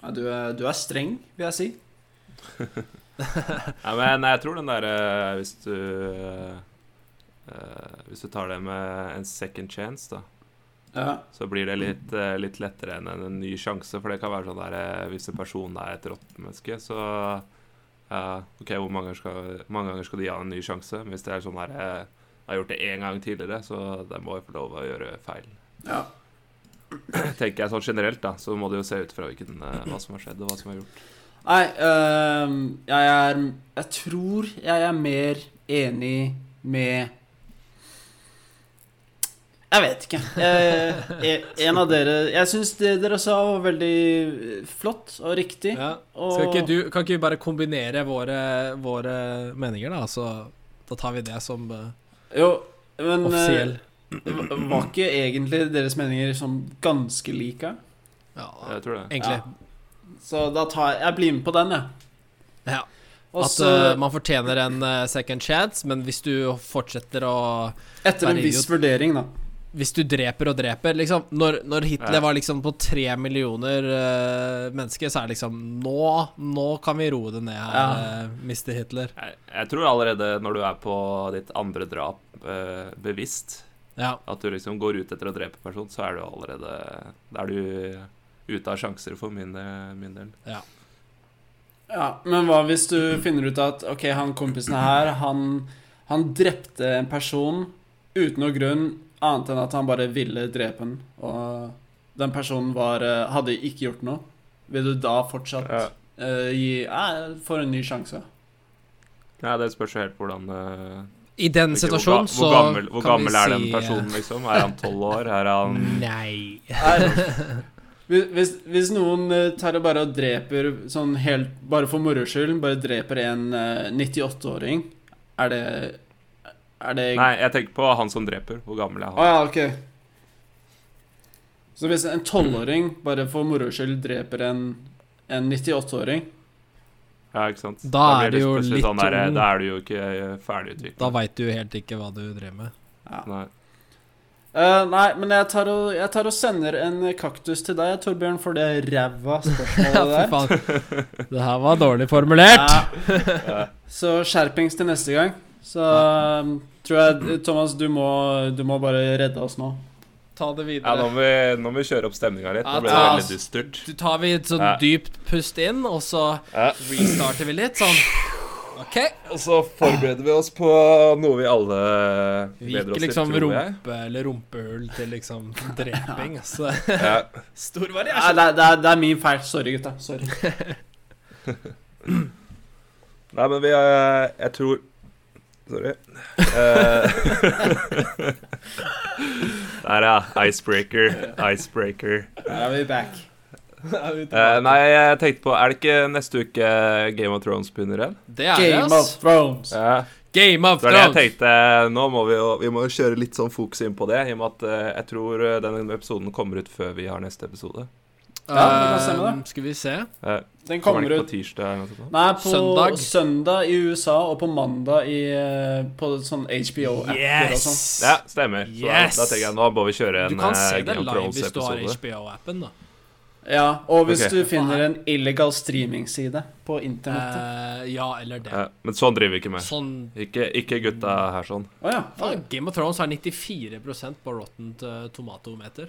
Ja, du, er, du er streng, vil jeg si.
Nei, men jeg tror den derre Hvis du eh, Hvis du tar det med en second chance, da,
Ja.
så blir det litt, eh, litt lettere enn en ny sjanse. For det kan være sånn der eh, Hvis en person er et rottemenneske, så eh, OK, hvor mange ganger, skal, mange ganger skal de ha en ny sjanse? Men hvis det er sånn der eh, Jeg har gjort det én gang tidligere, så de må jo få lov å gjøre feil.
ja.
[clears throat] Tenker jeg sånn generelt, da, så må det jo se ut fra hvilken, eh, hva som har skjedd, og hva som er gjort.
Nei, eh, jeg er Jeg tror jeg er mer enig med Jeg vet ikke. Eh, en av dere Jeg syns det dere sa, var veldig flott og riktig.
Ja.
Og,
Skal ikke du, kan ikke vi bare kombinere våre, våre meninger, da? Så da tar vi det som eh,
Jo, men eh,
offisiell.
v- Var ikke egentlig deres meninger sånn ganske like?
Ja,
Jeg tror det.
egentlig.
Så da tar jeg Jeg blir med på den, jeg.
Ja.
Og
At
så,
eh, man fortjener en eh, second chance, men hvis du fortsetter å
etter en
være
viss vurdering, da.
Hvis du dreper og dreper liksom, Når, når Hitler
Ja.
var liksom på tre millioner eh, mennesker, så er det liksom Nå, nå kan vi roe det ned her,
Ja.
eh, Mr. Hitler.
Jeg, jeg tror allerede når du er på ditt andre drap eh, bevisst,
Ja.
at du liksom går ut etter å drepe en person, så er du allerede Da er du ute av sjanser for min, eh, min del.
Ja, Men hva hvis du finner ut at ok, han kompisen her, han, han drepte en person uten noe grunn, annet enn at han bare ville drepe den, og den personen var, eh, hadde ikke gjort noe? Vil du da fortsatt
Ja.
eh, gi Ja, får en ny sjanse.
Nei, det spørs jo helt hvordan eh,
I den
ikke
situasjonen så
hvor, ga- hvor gammel, hvor
kan
gammel
vi
er
si
den personen, liksom? Er han tolv år? Er
[laughs]
han
eh, Nei.
Nei, hvis- hvis, hvis noen eh, tar og bare og dreper sånn helt Bare for moro skyld, bare dreper en eh, 98-åring, er det Er det
Nei, jeg tenker på han som dreper. Hvor gammel er
Å
han?
ja, ok. Så hvis en tolvåring bare for moro skyld dreper en, en 98-åring
Ja, ikke sant?
Da
blir
er det jo
plutselig
litt
der, eh,
ung.
Da er du jo ikke eh, ferdigutviklet.
Da veit du helt ikke hva du drev med.
Nei.
Eh, Nei, men jeg tar, og, jeg tar og sender en kaktus til deg, Torbjørn, for det
[laughs]
ræva
Ja, fy
spørsmålet der.
faen. Det her var dårlig formulert.
[laughs]
Ja. Så skjerpings til neste gang. Så um, tror jeg Thomas, du må, du må bare redde oss nå.
Ta det
Ja,
videre.
nå må vi- nå må vi kjøre opp stemninga litt.
Ja,
Nå ble det
ta-
veldig dystert.
Du tar vi et sånn
Ja.
dypt pust inn, og så
Ja.
restarter vi litt sånn. OK.
Og så forbereder vi oss på noe vi alle
Vi
gleder
gikk
oss til,
liksom
tror jeg.
rumpe eller rumpehull til
[laughs]
liksom dreping. Altså.
Ja.
[laughs] Stor
Ja,
variasjon.
det, er- det, er- det er min feil. Sorry, gutta. Sorry.
Nei, men vi eh, Jeg tror Sorry. Eh, [laughs] Der, ja. Icebreaker. Icebreaker.
Da er vi back.
Eh, nei, jeg tenkte på Er det ikke neste uke Game of Thrones begynner igjen?
Det er det,
Game of
ass.
Thrones.
Ja.
Game of
Det var det jeg
Thrones.
tenkte. Nå må vi jo vi må jo kjøre litt sånn fokus inn på det, i og med at eh, jeg tror eh, den episoden kommer ut før vi har neste episode.
Ja, det kan stemme,
Eh, Skal vi se.
Eh,
Den
kommer
kommer
den ikke
ut
på tirsdag? eller noe sånt?
Nei, på
Søndag.
søndag. i USA og på mandag i, eh, på sånn HBO-apper og
Yes!
sånn.
Ja, stemmer. Så da,
Yes!
da tenker jeg nå må vi kjøre en
Du kan
eh,
se det
Game of
live hvis du har
Thrones-episode.
HBO-appen, da.
Ja, og hvis
Ok.
du finner en illegal streamingside på internettet.
Eh, ja, eller det.
Ja, men sånn driver vi ikke med.
Sånn
Ikke, ikke gutta
Mm.
her sånn.
Eh,
Å ja.
ja, Game of Thrones har 94 på Rotten eh, Tomatometer.
ja.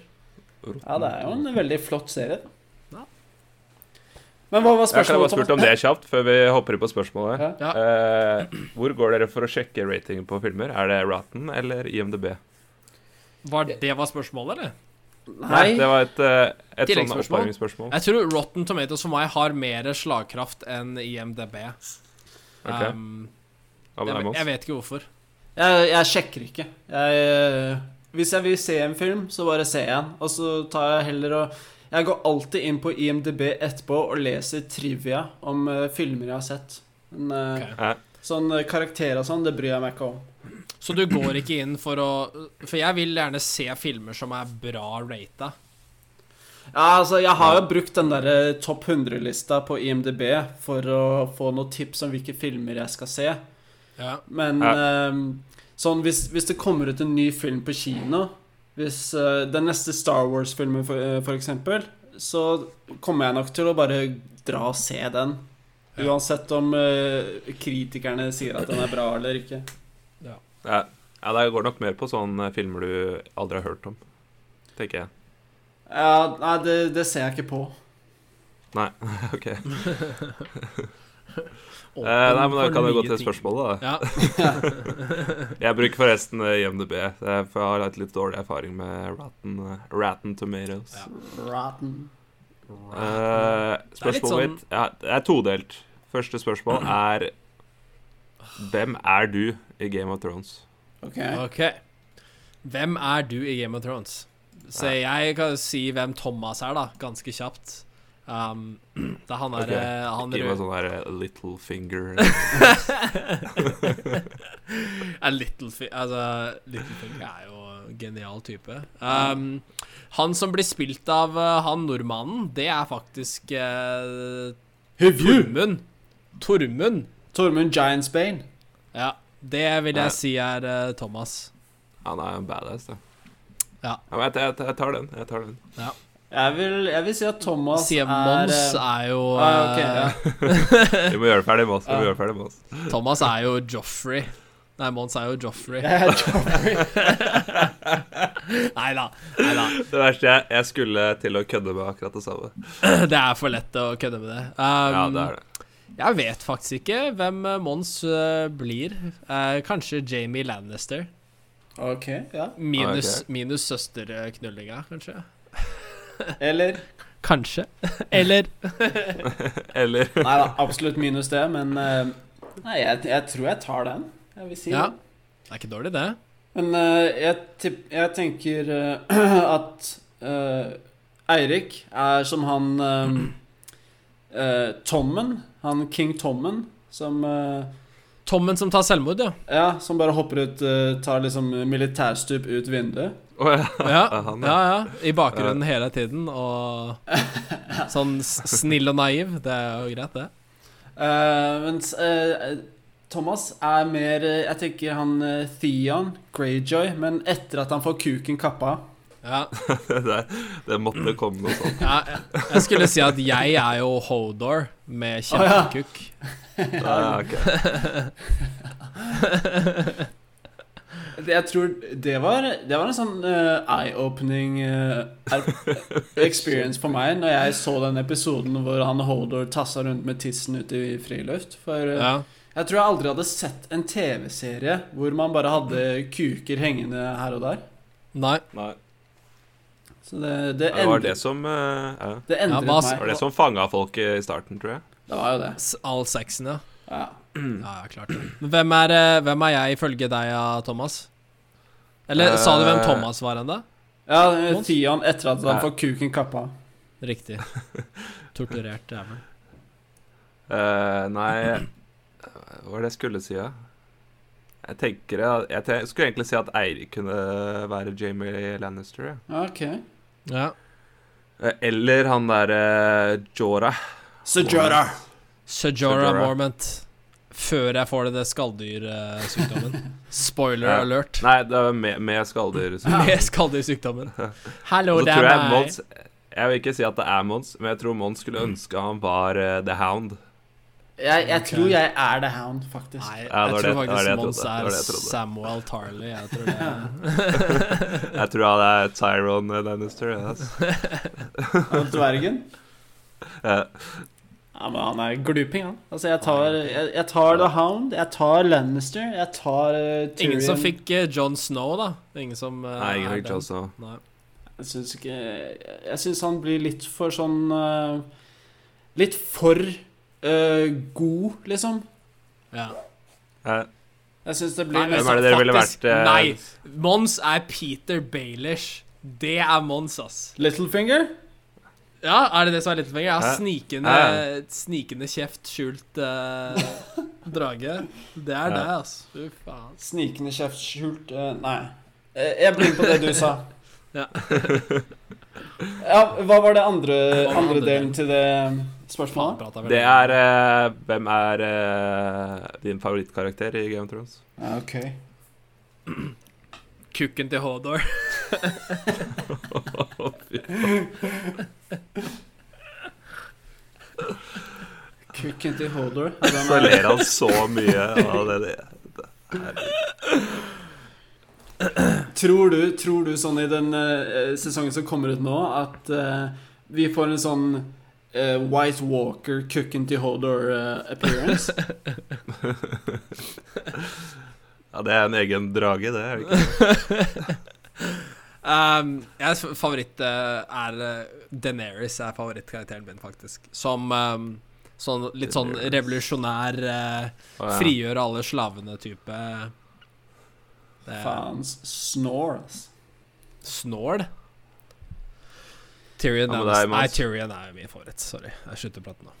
Det er jo
Mm.
en veldig flott serie.
Ja.
da. Men hva var
Jeg kan ha
spørsmålet?
bare spurt om det kjapt før vi hopper inn på spørsmålet.
Ja.
Ja.
Eh, hvor går dere for å sjekke ratingen på filmer? Er det Rotten eller IMDb?
Var det var spørsmålet, eller?
Nei,
det var et, eh, et sånn
Tilleggsspørsmål.
oppvarmingsspørsmål.
Jeg tror Rotten Tomatoes for meg har mer slagkraft enn IMDb.
Ok.
Um,
Ja,
jeg,
men det er med
jeg
oss.
vet ikke hvorfor.
jeg, jeg sjekker ikke. Jeg, eh, hvis jeg vil se en film, så bare ser jeg den. Og så tar jeg heller og Jeg går alltid inn på IMDb etterpå og leser trivia om eh, filmer jeg har sett. Men, eh,
Ok.
Ja.
Sånn eh, karakter og sånn, det bryr jeg meg ikke om.
Så du går ikke inn for å For jeg vil gjerne se filmer som er bra rata.
Ja, altså, jeg har jo brukt den der eh, topp 100-lista på IMDb for å få noen tips om hvilke filmer jeg skal se.
Ja.
Men ehm, sånn, hvis, hvis det kommer ut en ny film på kino Hvis eh, den neste Star Wars-filmen, for, eh, for eksempel, så kommer jeg nok til å bare dra og se den.
Ja.
Uansett om eh, kritikerne sier at den er bra eller ikke.
Ja. ja, det går nok mer på sånne filmer du aldri har hørt om, tenker jeg.
Ja, nei, det, det ser jeg ikke på.
Nei, [laughs] OK. Eh,
Åpen
nei, men da
for
kan vi
nye
gå til
ting.
spørsmålet, da.
Ja.
Jeg bruker forresten eh, IMDb, eh, for jeg har hatt litt dårlig erfaring med Rotten, eh, rotten Tomatoes.
Ja.
Rotten.
Eh,
litt
spørsmålet
sånn-
mitt ja, det er todelt. Første
[clears throat]
spørsmål er Hvem er du i Game of Thrones?
Ok.
OK. Hvem er du i Game of Thrones? Så jeg kan si hvem Thomas er, da, ganske kjapt. Um, [clears throat] det er han
Ok.
er eh, han
Gi meg
rød
sånn der eh, little
[laughs]
finger
[laughs]
A little fi- altså, Littlefinger er jo en genial type. Um, han som blir spilt av eh, han nordmannen, det er faktisk eh, Tormund. Tormund.
Tormund Giantsbane.
Ja, det vil
Ja.
jeg si er eh, Thomas.
Han er en badass, da.
Ja.
men jeg, jeg, jeg tar den. Jeg tar den.
Jeg vil, jeg vil si at Thomas
Sier
er
Mons
eh,
er jo
ah, ok,
eh,
ja.
Vi må gjøre det ferdig med oss. Vi må gjøre det ferdig med oss.
[laughs] Thomas er jo Joffrey. Nei, Mons er jo Joffrey.
Jeg er
[laughs]
Joffrey.
Nei da. Nei da.
Det verste jeg, jeg skulle til å kødde med akkurat det samme.
Det er for lett å kødde med det. Um,
Ja, det er det.
Jeg vet faktisk ikke hvem eh, Mons eh, blir. Eh, kanskje Jamie Lannister.
eh, Ok, ja.
Minus,
Ah, ok.
minus søsterknullinga, kanskje.
Eller
Kanskje. [laughs] Eller
Eller [laughs]
Nei da, absolutt minus det, men eh, Nei, jeg, jeg tror jeg tar den. Jeg vil si
Ja.
det.
Det er ikke dårlig, det.
Men eh, jeg, tipp, jeg tenker eh, [clears throat] at eh, Eirik er som han eh, [clears throat] eh, Tommen. Han King Tommen som eh,
Tommen som tar selvmord,
[laughs]
ja.
Ja, som bare hopper ut eh, Tar liksom militærstup ut vinduet.
Å ja.
Ja,
han,
ja, ja. I bakgrunnen hele tiden,
[laughs]
og sånn s- snill og naiv. Det er jo greit, det.
Eh, mens eh, Thomas er mer eh, Jeg tenker han eh, Theon Greyjoy, men etter at han får kuken kappa av.
Ja.
Det, det måtte komme noe
[laughs]
sånt.
ja. Jeg skulle si at jeg er jo Hodor med
Å, ja.
kjempekukk.
Ja, ok.
Jeg tror det var, det var en sånn eh, eye-opening eh, er-
[laughs]
experience for meg når jeg så den episoden hvor han Hodor tassa rundt med tissen ute i friluft. For eh,
Ja.
Jeg tror jeg aldri hadde sett en TV-serie hvor man bare hadde kuker hengende her og der.
Nei.
Nei.
Så det, det,
Ja, Det var
endret,
det som eh, ja.
det
Ja,
endret
hva-
Det
meg.
var det som fanga folk i starten, tror jeg.
Det var jo det.
S- All sexen, ja.
Ja.
Mm.
Ja, ja, klart det. Men hvem er, eh, hvem er jeg ifølge deg, ja, Thomas? Eller sa du hvem
Eh,
Thomas var ennå?
Ja, Theon etter at han
Ja.
får kuken kappa.
Riktig.
[laughs]
Torturert jævel.
Eh, nei Hva var det jeg skulle si, da? Jeg tenker jeg, jeg te- skulle egentlig si at Eirik kunne være Jamie Lannister. Ja.
Ja, Ok.
Ja.
Eh, Eller han derre Jorah.
Sejora.
Sejora
Sejora.
Mormont. Før jeg får det, det skalldyrsykdommen. Spoiler
Ja.
alert.
Nei, det var med, med skalldyr. så-
[laughs] Med skalldyrssykdommen. Hallo,
Og så
det
tror
er
jeg
meg.
Mons Jeg vil ikke si at det er Mons, men jeg tror Mons skulle
Mm.
ønske han var eh, The Hound.
Jeg, jeg
Ok.
tror jeg er The Hound, faktisk.
Nei, jeg
Ja, det
tror
var det- det var det
faktisk
jeg
Mons
trodde, det var
er
det jeg trodde.
Samuel Tarley. Jeg tror det er
[laughs] Jeg tror han er Tyron Lannister. ja, ass.
Og dvergen.
Eh,
Ja, men han er gluping, han. Altså, jeg tar, jeg, jeg tar The Hound, jeg tar Lannister, jeg tar eh, Tyrion.
Ingen som fikk John Snow, da. Ingen som eh,
Nei,
er
Henrik
den.
Johnson.
Nei.
Jeg syns ikke Jeg syns han blir litt for sånn eh, Litt for eh, god, liksom.
Ja.
Eh,
Jeg syns det
Nei,
blir
men
Hvem er det dere ville
faktisk-
vært, eh,
Nei, Mons er Peter Baelish. Det er Mons, ass.
Littlefinger?
Ja, er det det som er litt lenger? Jeg har
Hæ?
snikende, snikende kjeft, skjult eh, drage. Det er det,
Ja.
ass. Fy faen.
Snikende kjeft skjult eh, Nei. Eh, Jeg blir på det du sa.
[laughs] Ja.
ja, hva var det andre,
var
andre
andre
delen
delen?
til det spørsmålet?
Prater veldig.
Det er eh, Hvem er eh, din favorittkarakter i Game of Thrones?
Ja, ok.
Kukken til Hodor. [laughs]
Kukken til
[laughs]
Hodor. Ja, den
Så
er-
ler han så mye av det. det.
Tror du, tror du sånn i den eh, sesongen som kommer ut nå, at eh, vi får en sånn eh, White Walker Cooking to Hodor
[laughs]
eh, appearance?
Ja, det er en egen drage, det. er det ikke?
Um, jeg s- favoritt eh, er eh, Daenerys er favorittkarakteren min, faktisk. Som um, sånn, litt sånn
Daenerys.
revolusjonær, eh,
Å, ja.
frigjør alle eh, slavene-type. Det er
Faen, snore, ass.
Snål. Tyrion er,
Ja, men
mest-
det er
Nei,
Mons.
Tyrion er min favoritt. Sorry, jeg slutter å prate nå.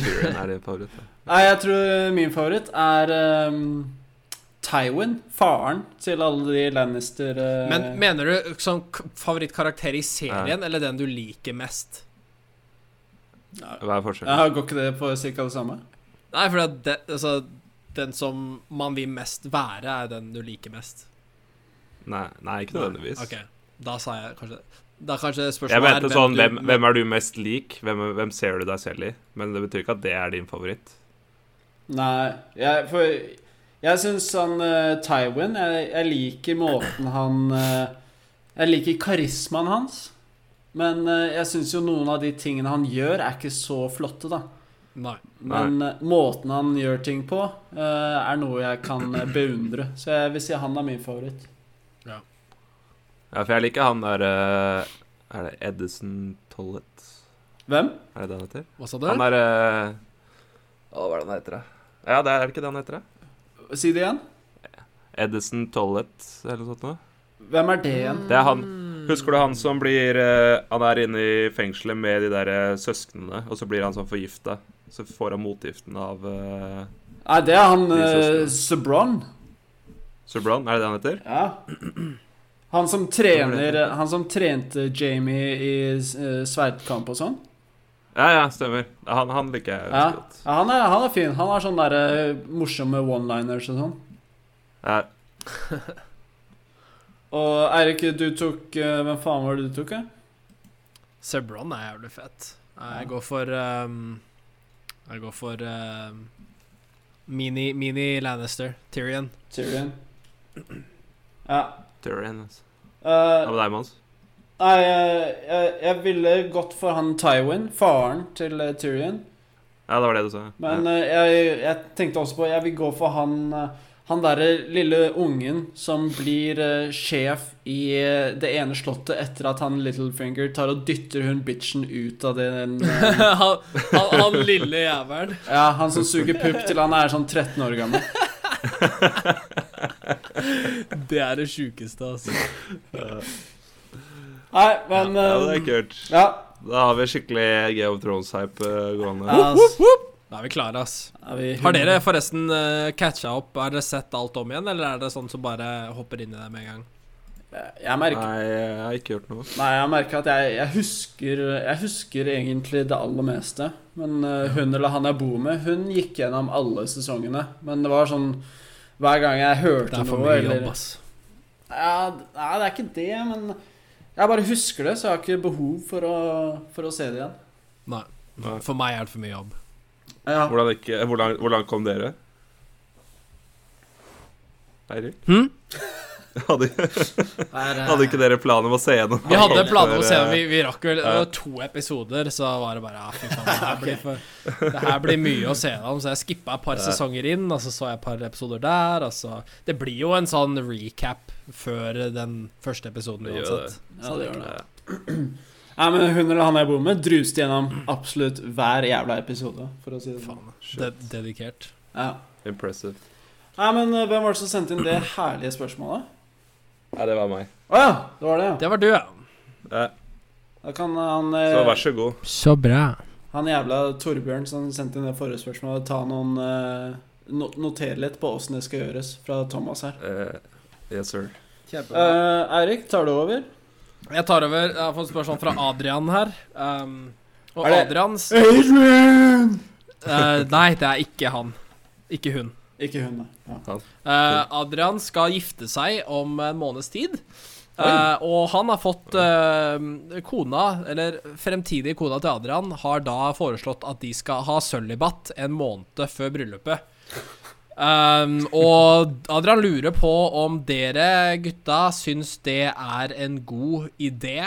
Tyrion er din favoritt. ja.
Nei, jeg tror min favoritt er ehm, Tywin. Faren til alle de Lannister eh,
Men mener du sånn k- favorittkarakter i serien, eller den du liker mest?
Hva er forskjellen?
ja, Går ikke det på cirka det samme?
Nei, for at det, altså, den som man vil mest være, er den du liker mest.
Nei, nei, ikke nødvendigvis.
Ok, da sa jeg kanskje Da kanskje spørsmålet
Jeg mente
er
sånn,
du-
hvem, hvem er du mest lik? Hvem, hvem ser du deg selv i? Men det betyr ikke at det er din favoritt.
Nei, jeg, for jeg syns han eh, Tywin jeg, jeg liker måten han eh, Jeg liker karismaen hans. Men eh, jeg syns jo noen av de tingene han gjør, er ikke så flotte, da.
Nei.
Men eh, måten han gjør ting på, eh, er noe jeg kan eh, beundre. Så jeg vil si han er min favoritt.
Ja, for jeg liker han der eh, Er det Edison Tollet?
Hvem?
Er det det han heter?
Hva sa du?
Han er eh, Å, hva er det han heter, da? Ja, det er ikke det han heter, da?
Si det igjen.
Edison Tollet, eller noe sånt noe?
Hvem er det igjen?
Det er han.
Mm.
Husker du han som blir eh, Han er inne i fengselet med de der eh, søsknene, og så blir han sånn forgifta. Så får han motgiften av uh,
Nei, det er han uh,
Jesus,
Sebron.
Subran, er det det han heter?
Ja. Han som trener Han som trente Jamie i eh, sverdkamp og sånn.
Ja, ja, stemmer. Han, han liker jeg
Ja.
ganske godt.
Ja, han, er, han er fin. Han har sånne der, eh, morsomme one-liners og sånn.
Ja.
Og Eirik, du tok eh, Hvem faen var det du tok? eh?
Sebron er jævlig fett. Eh, Jeg
Ja.
går for ehm, Jeg går for ehm, Mini, mini Lannister. [laughs] Tyrion.
Tyrion. Ja.
Tyrion, altså.
eh,
Hva med deg, Mons?
nei, eh, jeg, jeg ville gått for han Tywin, faren til eh, Tyrion.
Ja, det var det du sa.
Men
ja.
eh, jeg, jeg tenkte også på Jeg vil gå for han eh, Han derre lille ungen som blir eh, sjef i eh, det ene slottet etter at han Littlefinger tar og dytter hun bitchen ut av den eh,
han, han, han lille jævelen.
Ja, han som suger pupp til han er sånn 13 år gammel.
Det er det sjukeste, altså.
Nei, men
ja, det
eh,
er kult.
Ja.
Da har vi skikkelig Game of Thrones-hype eh, gående.
Ja, ass.
Da er vi klare, ass.
Er vi
Har dere forresten uh, catcha opp? Har dere sett alt om igjen, eller er det sånn som bare hopper inn i det med en gang?
Jeg merker
Nei, jeg har ikke gjort noe.
Nei, jeg merker at jeg, jeg husker Jeg husker egentlig det aller meste. Men eh, hun eller han jeg bor med, hun gikk gjennom alle sesongene. Men det var sånn Hver gang jeg
Det
hørte
er for
noe
mye
eller
jobb, altså. ass.
ja, d- Nei, det er ikke det, men jeg bare husker det, så jeg har ikke behov for å, for å se det igjen.
Nei.
Nei.
For meg er det for mye jobb.
Ja.
Hvordan, ikke, eh, hvordan, hvordan kom dere? Eirik?
Hm?
[laughs] Hadde, hadde ikke dere planer om å se gjennom?
Vi hadde
alt
planer om å se
før,
den. Vi, vi rakk vel det
eh, Ja.
var to episoder, så var det bare Ja, fy faen, det
[laughs]
her blir, for, det her blir mye å se om. Så jeg skippa et par sesonger inn, og så så jeg et par episoder der. Og så Det blir jo en sånn recap før den første episoden
Det gjør
uansett.
ja, det gjør det.
eh,
Nei, men hun eller han jeg bor med, druste gjennom absolutt hver jævla episode, for å si det sånn.
Faen. De dedikert.
Ja.
Impressive.
Nei, men eh, hvem var det som sendte inn det herlige spørsmålet?
Ja, det var meg.
Å ja, det var det, ja.
Det var du, ja.
Ja,
Da kan han eh,
så vær så god.
Så bra.
Han jævla Torbjørn som sendte inn det forrige spørsmålet, ta noen eh, no Notere litt på åssen det skal gjøres, fra Thomas her.
Eh, yes, sir.
Eh, Eirik, tar du over?
Jeg tar over. Jeg har fått spørsmål fra Adrian her. Um, og
Er det-
Adrians
Adrian!
eh, Nei, det er ikke han. Ikke hun.
Ikke hun, nei. Ja.
Eh, Adrian skal gifte seg om en måneds tid. Eh, og han har fått eh, Kona, eller fremtidige kona til Adrian, har da foreslått at de skal ha sølibat en måned før bryllupet. Um, og Adrian lurer på om dere gutta syns det er en god idé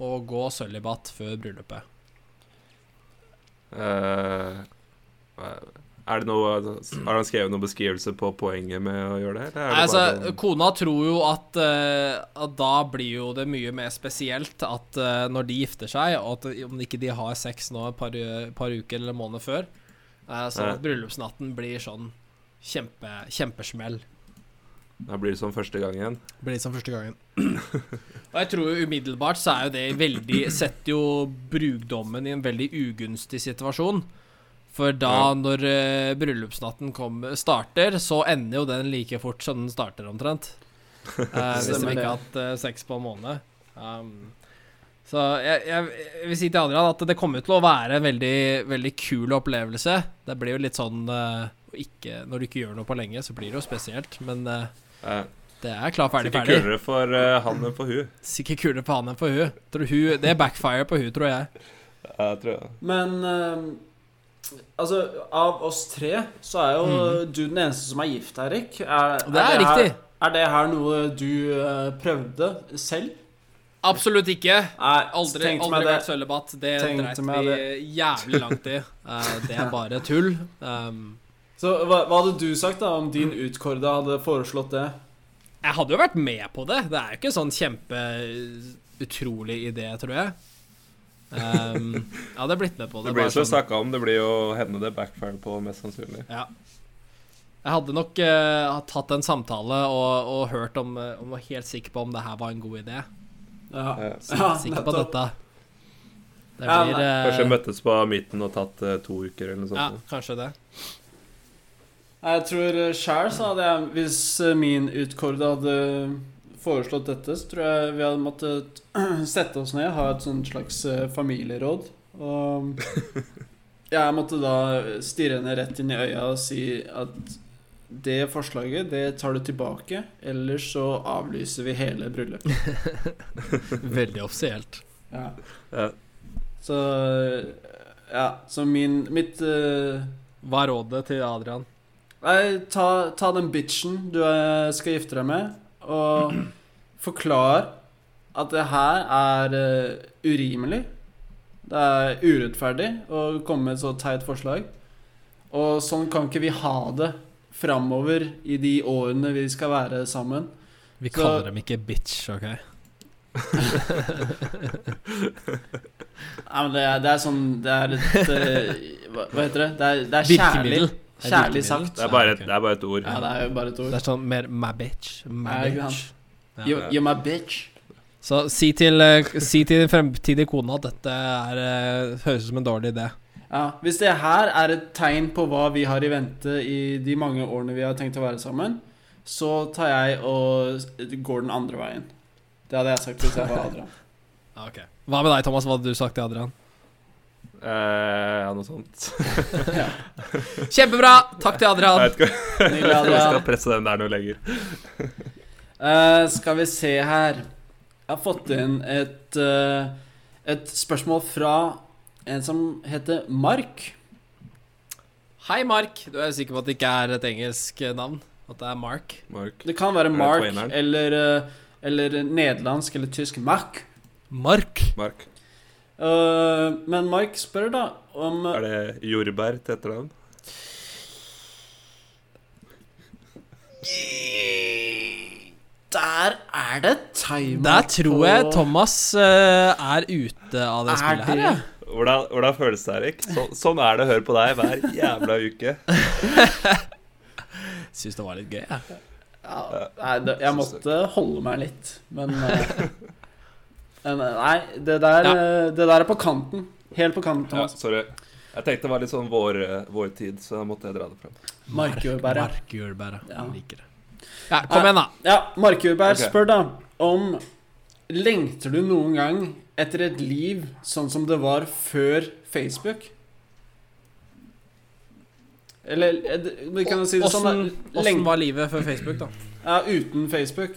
å gå sølibat før bryllupet.
Eh, er det noe Har han skrevet noen beskrivelse på poenget med å gjøre det? Eller er det
Altså,
bare sånn-
Kona tror jo at, eh, at da blir jo det mye mer spesielt at eh, når de gifter seg, og at om ikke de har sex nå et par, eh, par uker eller måneder før, eh, sånn at bryllupsnatten blir sånn kjempe, kjempesmell.
Da blir det som første gang igjen.
Blir litt som første gangen. og jeg tror jo umiddelbart så er jo det veldig Setter jo brudgommen i en veldig ugunstig situasjon. For da,
Ja.
når eh, bryllupsnatten kom, starter, så ender jo den like fort som den starter,
[laughs]
omtrent. Eh, hvis de
Stemmer
ikke
det.
har hatt eh, sex på en måned. Um, så jeg, jeg, jeg vil si til Adrian at det kommer til å være en veldig, veldig kul opplevelse. Det blir jo litt sånn eh, å ikke, Når du ikke gjør noe på lenge, så blir det jo spesielt, men eh,
Eh,
det er klar, ferdig,
Sikkert
ferdig.
kulere for eh, han enn for hun.
Sikkert kulere på han enn på hun. Tror hun det er backfire på hun, tror jeg.
Ja, jeg tror jeg.
Men eh, altså, av oss tre så er jo du den eneste som er gift, Eirik.
Mhm.
Er,
Og det er riktig.
Her, er det her noe du eh, prøvde selv?
Absolutt ikke.
Nei,
Aldri,
tenkte
aldri
meg det.
vært sølibat. Det
Tenkte
dreit
meg
vi jævlig langt
[laughs]
i. Eh, det er bare tull. Um,
Så hva, hva hadde du sagt da om din utkårede hadde foreslått det?
jeg hadde jo vært med på det. Det er jo ikke en sånn kjempeutrolig idé, tror jeg. Um, jeg hadde blitt med på det.
Det blir
bare
som
sånn-
snakka om, det blir jo henne det backfire på, mest sannsynlig.
Ja. Jeg hadde nok eh, tatt en samtale og, og hørt om, eh, om Var helt sikker på om det her var en god idé.
Ja,
Eh,
ja
Sikker på
nettopp.
dette. Det
Ja,
blir
Kanskje
eh,
møttes på midten og tatt eh, to uker eller noe
Ja,
sånn.
sånt.
kanskje
[laughs]
det.
Nei, Jeg tror eh, sjæl så hadde jeg Hvis eh, min utkårede hadde eh, foreslått dette, så tror jeg vi hadde måttet [clears throat] sette oss ned, ha et sånt slags eh, familieråd. Og jeg måtte da stirre henne rett inn i øya og si at det forslaget, det tar du tilbake, ellers så avlyser vi hele bryllupet.
Veldig offisielt.
Ja.
Ja.
Så eh, Ja, så min Mitt eh,
Hva er rådet til Adrian?
Nei, ta, ta den bitchen du eh, skal gifte deg med, og [clears throat] forklar at det her er eh, urimelig. Det er urettferdig å komme med et så teit forslag. Og sånn kan ikke vi ha det framover i de årene vi skal være sammen.
Vi
Så-
kaller dem ikke bitch, OK?
Nei, men det er, det er sånn Det er et eh, [laughs] hva, hva heter det? Det er, det er kjærlig.
Virkemiddel. Det er
Kjærlig
virkemiddel.
sagt.
Det er bare
Ja,
et,
ok.
det er bare et ord.
Ja, det er jo bare et
Det
ord.
er sånn mer my bitch. My
Ja, ikke
bitch. Ja.
You, you're my bitch.
Så si til, eh, si til din fremtidige kone at dette er, eh, høres ut som en dårlig idé.
Ja, Hvis det her er et tegn på hva vi har i vente i de mange årene vi har tenkt å være sammen, så tar jeg og går den andre veien. Det hadde jeg sagt hvis jeg var Adrian.
Hva med deg, Thomas? Hva hadde du sagt til Adrian?
Eh, ja, noe sånt.
Ja.
Kjempebra! Takk til
Jeg
Adrian.
vet ikke
Nydelig,
om jeg skal
Adrian.
presse den der noe lenger.
Eh, skal vi se her Jeg har fått inn et, eh, et spørsmål fra en som heter Mark.
Hei, Mark. Du er sikker på at det ikke er et engelsk eh, navn? At det er Mark?
Mark.
Det kan være
det
Mark
traineren?
eller, eh, eller nederlandsk eller tysk. Mark.
Mark?
Mark.
Eh, men Mark spør da om
Er det jordbær til etternavn?
Der er det timer
Der tror jeg Thomas eh, er ute av det
Er
spillet her.
det-
Ja.
Hvordan, hvordan føles det, Erik? Så, sånn er det å høre på deg hver jævla uke.
Syns det var litt gøy. jeg.
ja, Nei, det, jeg måtte holde meg litt,
[laughs]
men eh, men, eh, Nei, det der,
Ja.
eh, det der er på kanten. Helt på kanten,
Ja,
Thomas.
sorry. Jeg tenkte det var litt sånn vår, vår tid, så da måtte jeg dra det fram.
Markjordbæret.
Markjordbæret.
Ja.
Jeg Liker det. Ja, kom igjen, da.
Ja, Markjordberg
Ok.
spør da om Lengter du noen gang etter et liv sånn som det var før Facebook? Eller eh, d- vi kan jo si det sånn da.
Åssen åssen
Leng-
var livet før Facebook, da?
ja, Uten Facebook.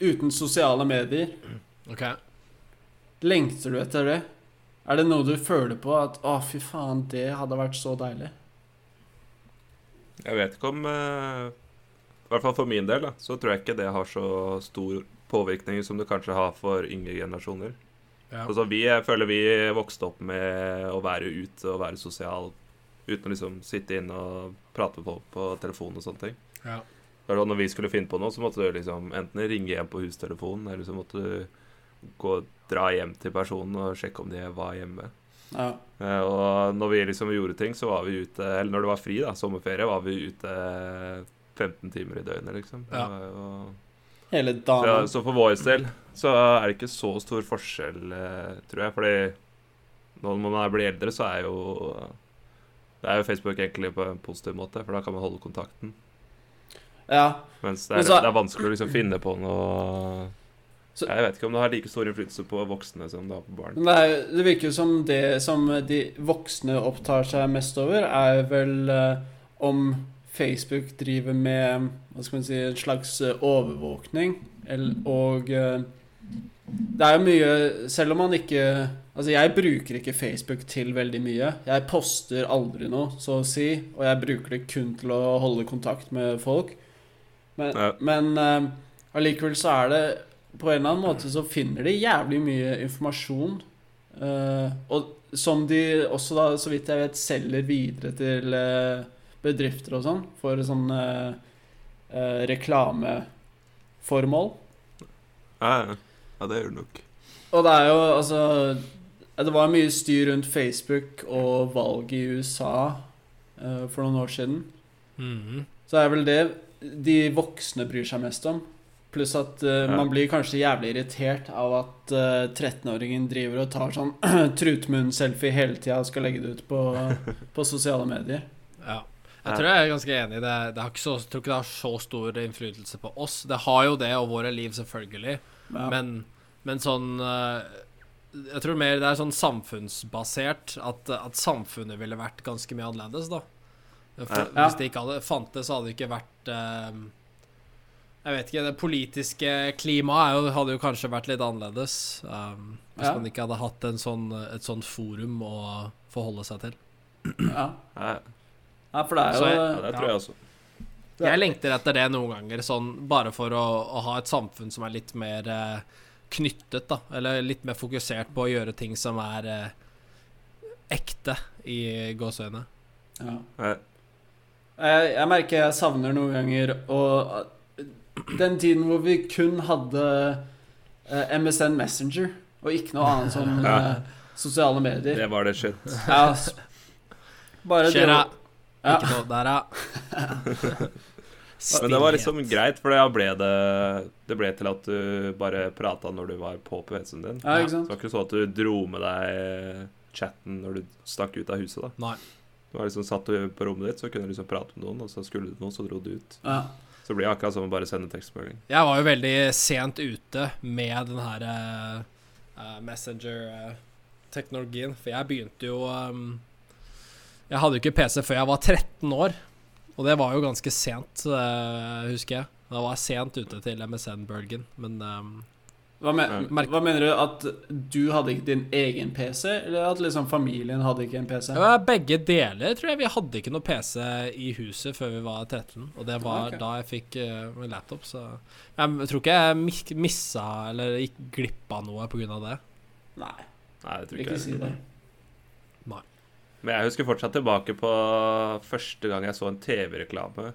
Uten sosiale medier.
Ok
Lengter du etter det? Er det noe du føler på at Å, fy faen, det hadde vært så deilig?
Jeg vet ikke om eh, I hvert fall for min del, da, så tror jeg ikke det har så stor påvirkning som det kanskje har for yngre generasjoner.
Ja.
Altså, vi, jeg føler vi vokste opp med å være ute og være sosial uten å liksom sitte inne og prate med folk på telefon og sånne ting.
Ja.
Det er sånn, Når vi skulle finne på noe, så måtte du liksom enten ringe hjem på hustelefonen, eller så måtte du gå dra hjem til personen og sjekke om de var hjemme.
Ja.
Eh, Og når vi liksom gjorde ting, så var vi ute Eller når det var fri, da, sommerferie, var vi ute 15 timer i døgnet, liksom. Det
Ja.
var jo-
Hele
Så, ja,
dagen.
så for vår del så er det ikke så stor forskjell, eh, tror jeg. Fordi når man blir eldre, så er jo Det er jo Facebook egentlig på en positiv måte, for da kan man holde kontakten.
Ja.
Mens det er,
Men så-
det er vanskelig å liksom finne på noe
Så-
Jeg vet ikke om det har like stor innflytelse på voksne som det har på barn.
Men det, er, det virker jo som det som de voksne opptar seg mest over, er vel eh, om Facebook driver med hva skal man si, en slags eh, overvåkning. Eller, og eh, det er jo mye Selv om man ikke Altså, jeg bruker ikke Facebook til veldig mye. Jeg poster aldri noe, så å si, og jeg bruker det kun til å holde kontakt med folk. Men,
Ja.
men eh, allikevel så er det på en eller annen måte så finner de jævlig mye informasjon. eh, og som de også, da, så vidt jeg vet, selger videre til eh, bedrifter og sånn. For sånn eh, eh, reklameformål.
Ja, ja. ja, det gjør det nok.
Og det er jo altså Det var mye styr rundt Facebook og valget i USA eh, for noen år siden.
Mhm.
Så er vel det de voksne bryr seg mest om. Pluss at eh,
Ja.
man blir kanskje jævlig irritert av at eh, 13-åringen driver og tar sånn [clears throat] trutmunn-selfie hele tida og skal legge det ut på,
[laughs]
på sosiale medier.
ja. Jeg tror jeg er ganske enig. i Det, det har ikke så, jeg tror ikke det har så stor innflytelse på oss. Det har jo det, og våre liv, selvfølgelig.
Ja.
Men, men sånn eh, Jeg tror mer det er sånn samfunnsbasert. At, at samfunnet ville vært ganske mye annerledes, da. For,
Ja.
Hvis det ikke hadde fantes, så hadde det ikke vært eh, Jeg vet ikke. Det politiske klimaet er jo- hadde jo kanskje vært litt annerledes. eh, hvis
Ja.
man ikke hadde hatt en sånn, et sånt forum å forholde seg til.
ja.
Ja,
ja, for det er
Så
jo
ja, det tror jeg også.
Jeg lengter etter det noen ganger, sånn bare for å, å ha et samfunn som er litt mer eh, knyttet, da. Eller litt mer fokusert på å gjøre ting som er eh, ekte, i gåseøyne.
ja.
Ja.
Eh, Jeg merker jeg savner noen ganger og eh, den tiden hvor vi kun hadde eh, MSN Messenger og ikke noe annet som
[laughs] Ja.
eh, sosiale medier.
Det var det shit.
Ja, s- bare det
Skjer'a.
Ja.
Ikke noe der, ja.
[laughs] Men det var liksom greit, for da ble det, det ble til at du bare prata når du var på PC-en din.
Ja,
Så
ikke
det
sant?
var ikke sånn at du dro med deg chatten når du stakk ut av huset, da.
Nei.
Du var liksom Satt du på rommet ditt, så kunne du liksom prate med noen, og så skulle du noe, så dro du ut.
Ja.
Så det blir akkurat som å bare sende tekstmelding.
Jeg var jo veldig sent ute med den her eh, Messenger-teknologien, eh, for jeg begynte jo ehm, Jeg hadde jo ikke PC før jeg var 13 år, og det var jo ganske sent, eh, husker jeg. Da var jeg sent ute til MSN-bølgen, men ehm,
Hva,
Ja.
men, hva mener du? At du hadde ikke din egen PC, eller at liksom familien hadde ikke en PC?
det var begge deler, tror jeg. Vi hadde ikke noe PC i huset før vi var 13, og det var
Ok.
da jeg fikk eh, laptop, så Jeg tror ikke jeg mis- missa eller gikk glipp av noe på grunn av det.
Nei,
Nei, jeg tror
vil
ikke,
ikke si det.
Men jeg husker fortsatt tilbake på første gang jeg så en TV-reklame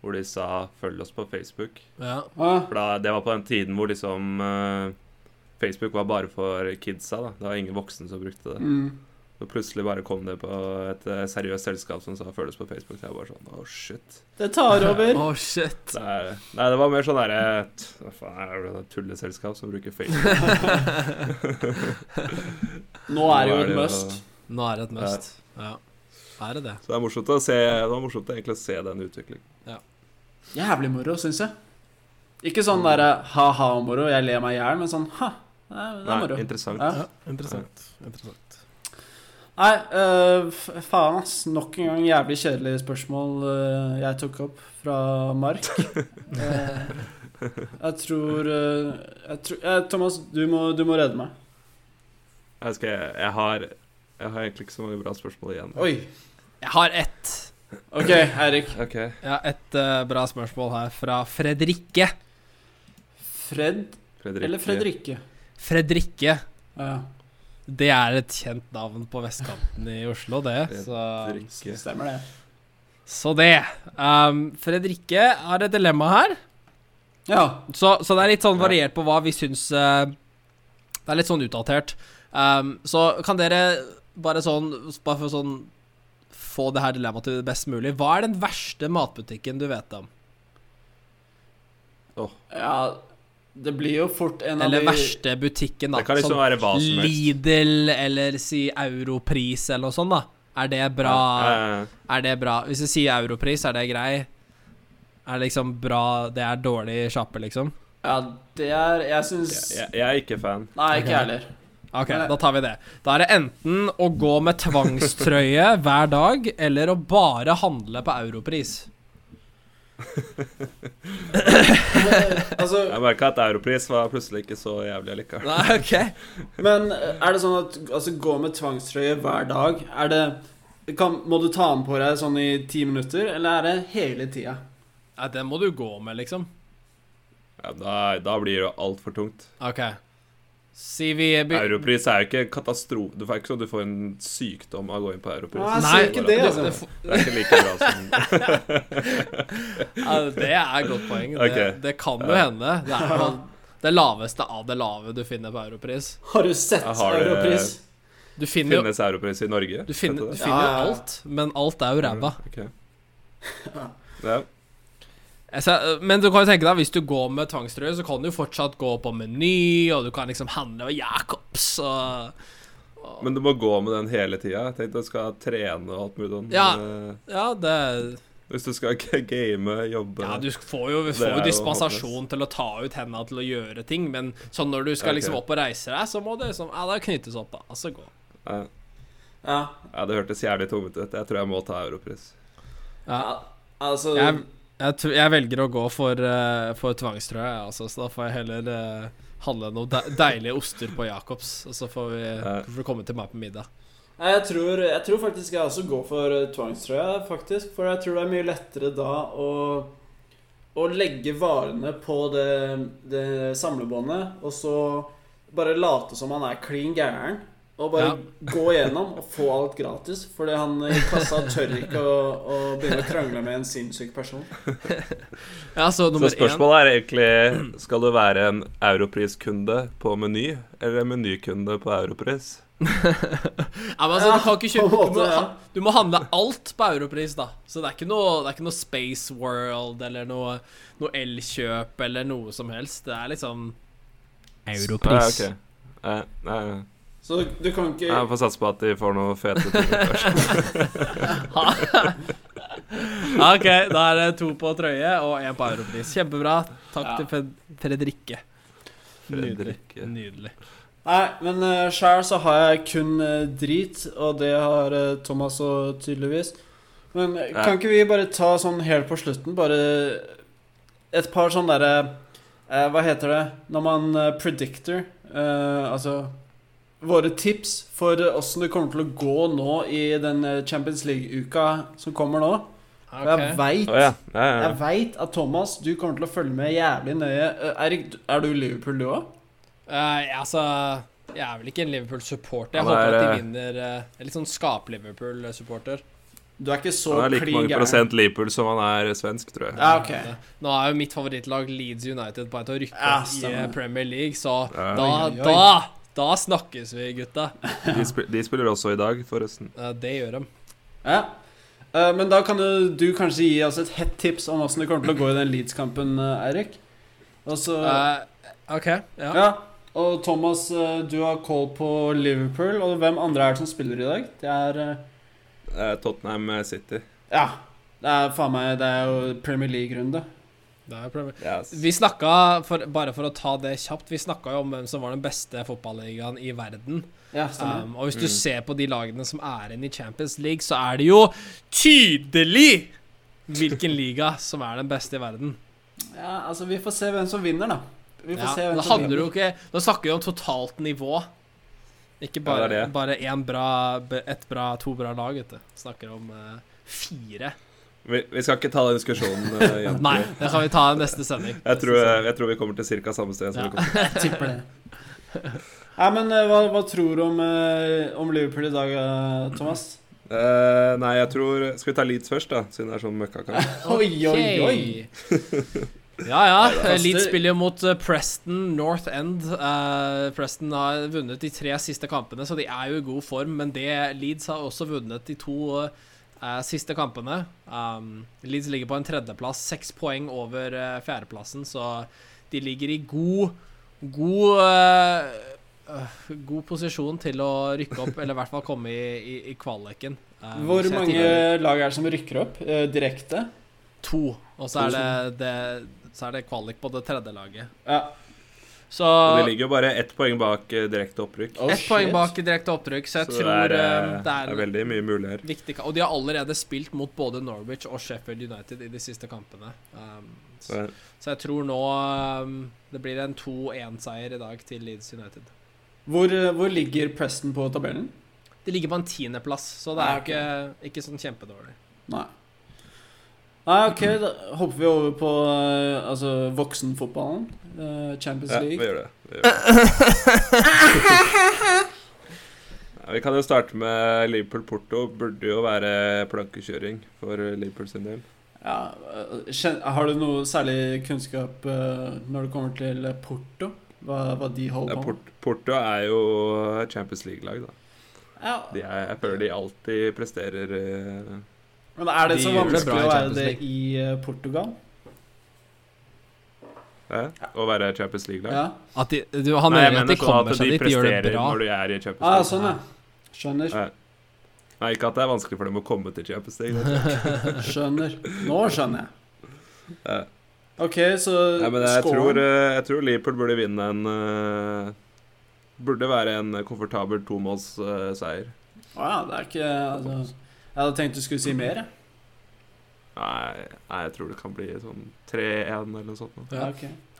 hvor de sa 'følg oss på Facebook'.
Ja.
Å,
For da, Det var på den tiden hvor liksom eh, Facebook var bare for kidsa. da Det var ingen voksne som brukte det.
mm.
Så plutselig bare kom det på et eh, seriøst selskap som sa 'følg oss på Facebook'. Så jeg bare sånn oh shit.
Det tar
[laughs]
over.
Å, shit.
Det er, nei, det var mer sånn derre t- Hva faen er det for et tulleselskap som bruker Facebook?
Nå er det jo
Nå
et must.
Nå er det et must. Ja. Er det det?
Så det er morsomt å se Det var morsomt egentlig å se den utviklingen.
Jævlig moro, syns jeg. Ikke sånn derre ha-ha-moro, jeg ler meg i hjel, men sånn ha. Det er, det er
Nei,
moro.
interessant.
Ja.
Interessant. interessant.
Nei, øh, f- faen ass. Nok en gang jævlig kjedelige spørsmål øh, jeg tok opp fra
[laughs]
Mark. Eh, jeg tror, øh, jeg tror eh, Thomas, du må, du må redde meg.
Jeg, skal, jeg, har, jeg har egentlig ikke så mange bra spørsmål igjen.
Oi.
Jeg har ett.
OK, Eirik.
Ok.
Jeg har ett eh, bra spørsmål her fra Fredrikke.
Fred
Fredrikke.
eller Fredrikke?
Fredrikke,
Ja,
det er et kjent navn på vestkanten i Oslo, det. Så,
Fredrikke.
stemmer det.
så det. Um, Fredrikke har et dilemma her.
Ja.
Så, så det er litt sånn
Ja.
variert på hva vi syns eh, Det er litt sånn utdatert. Um, så kan dere bare sånn Bare for sånn få det her dilemmaet til det best mulig. Hva er den verste matbutikken du vet om?
ja Det blir jo fort en
Eller
av de
verste butikken, da.
Det kan liksom være hva som
sånn
helst.
Lidl eller si Europris eller noe sånt, da. Er det bra?
Ja,
Er det bra? Hvis du sier Europris, er det grei? Er det liksom bra Det er dårlig sjappe, liksom?
Ja, det er Jeg syns
jeg, jeg, jeg er ikke fan.
Nei, ikke jeg heller.
OK,
Nei.
da tar vi det. Da er det enten å gå med tvangstrøye
[laughs]
hver dag, eller å bare handle på Europris.
altså,
Jeg merka at Europris var plutselig ikke så jævlig allikevel.
Nei, OK.
men er det sånn at altså, gå med tvangstrøye hver dag? Er det kan, Må du ta den på deg sånn i ti minutter, eller er det hele tida?
Nei, den må du gå med, liksom.
Ja, da, da blir det jo altfor tungt.
OK. Si vi
Europris er jo ikke katastrofe Du får ikke sånn at du får en sykdom av å gå inn på Europris.
Nei, jeg
Nei,
ser ikke det,
det-
altså.
det-
Det er ikke like bra
[laughs]
som
Ja, det er et godt poeng. Det,
Ok.
det kan jo hende. Det er jo det laveste av det lave du finner på Europris.
Har du sett
Jeg har det.
Europris?
Du finner jo
Finnes Europris i Norge?
du finner, du
Vet
finner
Ja, ja, ja.
alt, men alt er jo ræva.
det? Ok. Ja.
Jeg sa- øh, Men du kan jo tenke deg, hvis du går med tvangstrøye, så kan du jo fortsatt gå på Meny, og du kan liksom handle ved Jacobs og
Men du må gå med den hele tida. Jeg tenkte du skal trene og alt mulig sånn.
Ja.
Eh,
Ja, det
Hvis du skal [laughs] g- game, jobbe
Ja, du får jo,
Det
får
er
jo
jo
dispensasjon til å ta ut henda til å gjøre ting, men sånn når du skal
Ok.
liksom opp og reise deg, så må det liksom Ja, da knyttes opp, da. Og så gå.
ja.
Ja.
ja, det hørtes jævlig tungt ut. Jeg tror jeg må ta Europris.
Ja.
Altså
Jeg, jeg, tror- jeg velger å gå for, eh, for tvangstrøye, jeg, altså, så da får jeg heller eh, handle noen de deilige oster på Jacobs, og så får vi
Ja.
får du komme til meg på middag.
Nei, jeg tror, jeg tror faktisk jeg også går for eh, tvangstrøya, faktisk. For jeg tror det er mye lettere da å, å legge varene på det, det samlebåndet, og så bare late som man er klin gæren, Og bare
Ja.
gå gjennom og få alt gratis. Fordi han i kassa tør ikke å, å begynne å krangle med en sinnssyk person.
Ja, så
Så
nummer én
spørsmålet er egentlig Skal du være en europriskunde på Meny, eller en menykunde på Europris?
ja, men altså, Du kan ikke
Ja,
kjøpe du,
på en måte,
må,
ja.
ha- du må handle alt på europris, da. Så det er ikke noe, det er ikke noe Space World eller noe, noe elkjøp eller noe som helst. Det er liksom
Europris. Nei, ok. Nei, nei, nei.
Så du, du kan ikke
Jeg får satse på at de får noe fete [laughs] ting
[laughs]
først.
Ja, OK, da er det to på trøye og én på europris. Kjempebra. Takk
Ja.
til Fred Fredrikke. Nydelig.
Fredrik.
Nydelig.
Nei, men uh, sjæl så har jeg kun eh, drit, og det har eh, Thomas òg tydeligvis. Men eh,
Ja.
kan ikke vi bare ta sånn helt på slutten, bare et par sånne derre eh, Hva heter det når man eh, predictor? eh, altså våre tips for eh, åssen det kommer til å gå nå i den eh, Champions League-uka som kommer nå. For jeg
Ok.
veit
Å ja. Ja, ja,
jeg vet at Thomas, du kommer til å følge med jævlig nøye. Eh, Erik, er du Liverpool, du òg?
Eh, ja, altså Jeg er vel ikke en Liverpool-supporter. Jeg
Han er,
håper at
eh,
de vinner eh, Jeg er Litt sånn skap-Liverpool-supporter.
Du er ikke så
Han er like
klin
mange
gæren.
prosent Liverpool som han er svensk, tror jeg.
Ja, ok.
Eh, Nå er jo mitt favorittlag Leeds United på vei til å rykke
Ja,
opp i
stemmer.
eh, Premier League, så
Ja.
da,
Oi, oi, oi.
da Da snakkes vi, gutta.
De, spil de spiller også i dag, forresten.
Eh, det gjør de.
Ja. Eh, Men da kan du, du kanskje gi oss et hett tips om åssen det kommer til å gå i den Leeds-kampen, eh, Eirik. Og så
Eh, OK. Ja.
Ja. Og Thomas, eh, du har call på Liverpool. Og hvem andre er det som spiller i dag? Det er eh,
Eh, Tottenham City.
Ja. Det er faen meg Det er jo Premier League-runde.
Det er Premier-
Yes.
vi snakka, for, bare for å ta det kjapt, vi snakka jo om hvem som var den beste fotballigaen i verden.
Ja, stemmer.
Um, og hvis du
Mm.
ser på de lagene som er igjen i Champions League, så er det jo tydelig hvilken liga som er den beste i verden.
ja, altså, vi får se hvem som vinner, da. Vi får
Eh. Ja,
se hvem
da
som
handler det jo ikke Nå snakker vi om totalt nivå. Ikke bare,
Ja, det er det.
bare én bra, be- ett bra, to bra lag, vet du. Snakker om eh,
[laughs]
fire.
Vi, vi skal ikke ta den diskusjonen
[laughs]
eh, igjen.
Nei, det kan vi ta i neste sending.
Jeg tror, jeg tror vi kommer til cirka samme sted. Som
Ja.
vi kom.
Tipper det. Nei, men eh, hva, hva tror du om, eh, om Liverpool i dag, eh, Thomas?
Eh, nei, jeg tror Skal vi ta Leeds først, da? Siden det er sånn møkkakamp.
[laughs] Oi, oi, oi.
[laughs] Ja, ja.
Kaster-
Leeds spiller jo mot eh, Preston North End. Eh, Preston har vunnet de tre siste kampene, så de er jo i god form. Men det Leeds har også vunnet de to eh, siste kampene. Um, Leeds ligger på en tredjeplass, seks poeng over eh, fjerdeplassen, så de ligger i god God eh, øh, God posisjon til å rykke opp, eller i hvert fall komme i, i, i kvaliken. Um,
Hvor
så jeg
mange
tipper-
lag er det som rykker opp eh, direkte?
To. sånn. Og så er det, det, så er det kvalik på det tredje laget.
Ja.
Så
Og De ligger jo bare ett poeng bak eh, direkte opprykk.
Oh,
ett
shit.
poeng bak i direkte opprykk, så jeg
Så
tror
det er,
eh,
eh, det er
det er
veldig mye mulig her.
en viktig kamp. Og de har allerede spilt mot både Norwich og Sheffield United i de siste kampene. Um, så,
Så,
så jeg tror nå um, det blir en 2-1-seier i dag til Leeds United.
Hvor, eh, hvor ligger Preston på tabellen?
De ligger på en tiendeplass, så det er
Ah,
jo ikke, ikke sånn kjempedårlig.
Nei. Nei, ok,
Mm.
da hopper vi over på eh, altså, voksenfotballen. eh, Champions
ja, vi
League.
gjør det. [laughs] Vi, gjør det. Ja, vi kan jo starte med Liverpool-Porto. Burde jo være plankekjøring for Liverpool sin del.
Ja, eh, kjen- har du noe særlig kunnskap eh, når det kommer til eh, Porto? Hva, hva de
Ja,
holder på med?
Port Porto er jo Champions League-lag, da.
Ja,
De er, jeg føler de alltid presterer eh,
men er det
de
så
gjør det bra
vanskelig
i Champions
å være det i eh, Portugal?
Hæ? eh, Å være Champions League-lag?
Ja.
han
Nei,
mener at de
jeg mener sånn
kommer
at
seg
de
dit, de gjør det
presterer
bra.
når de er i Champions
Ah,
League.
sånn, ja. Skjønner.
Nei. Nei, ikke at det er vanskelig for dem å komme til Champions League. det tror jeg.
Skjønner. Nå skjønner jeg.
Ja.
OK, så
Nei, men jeg
scoren-
tror, eh, jeg tror Liverpool burde vinne en eh, Burde være en komfortabel eh, tomålsseier.
Å ja, det er ikke altså, Jeg hadde tenkt du skulle si mer, jeg.
Nei, nei, jeg tror det kan bli sånn 3-1 eller noe sånt. nå.
Ja.
Ja, ok.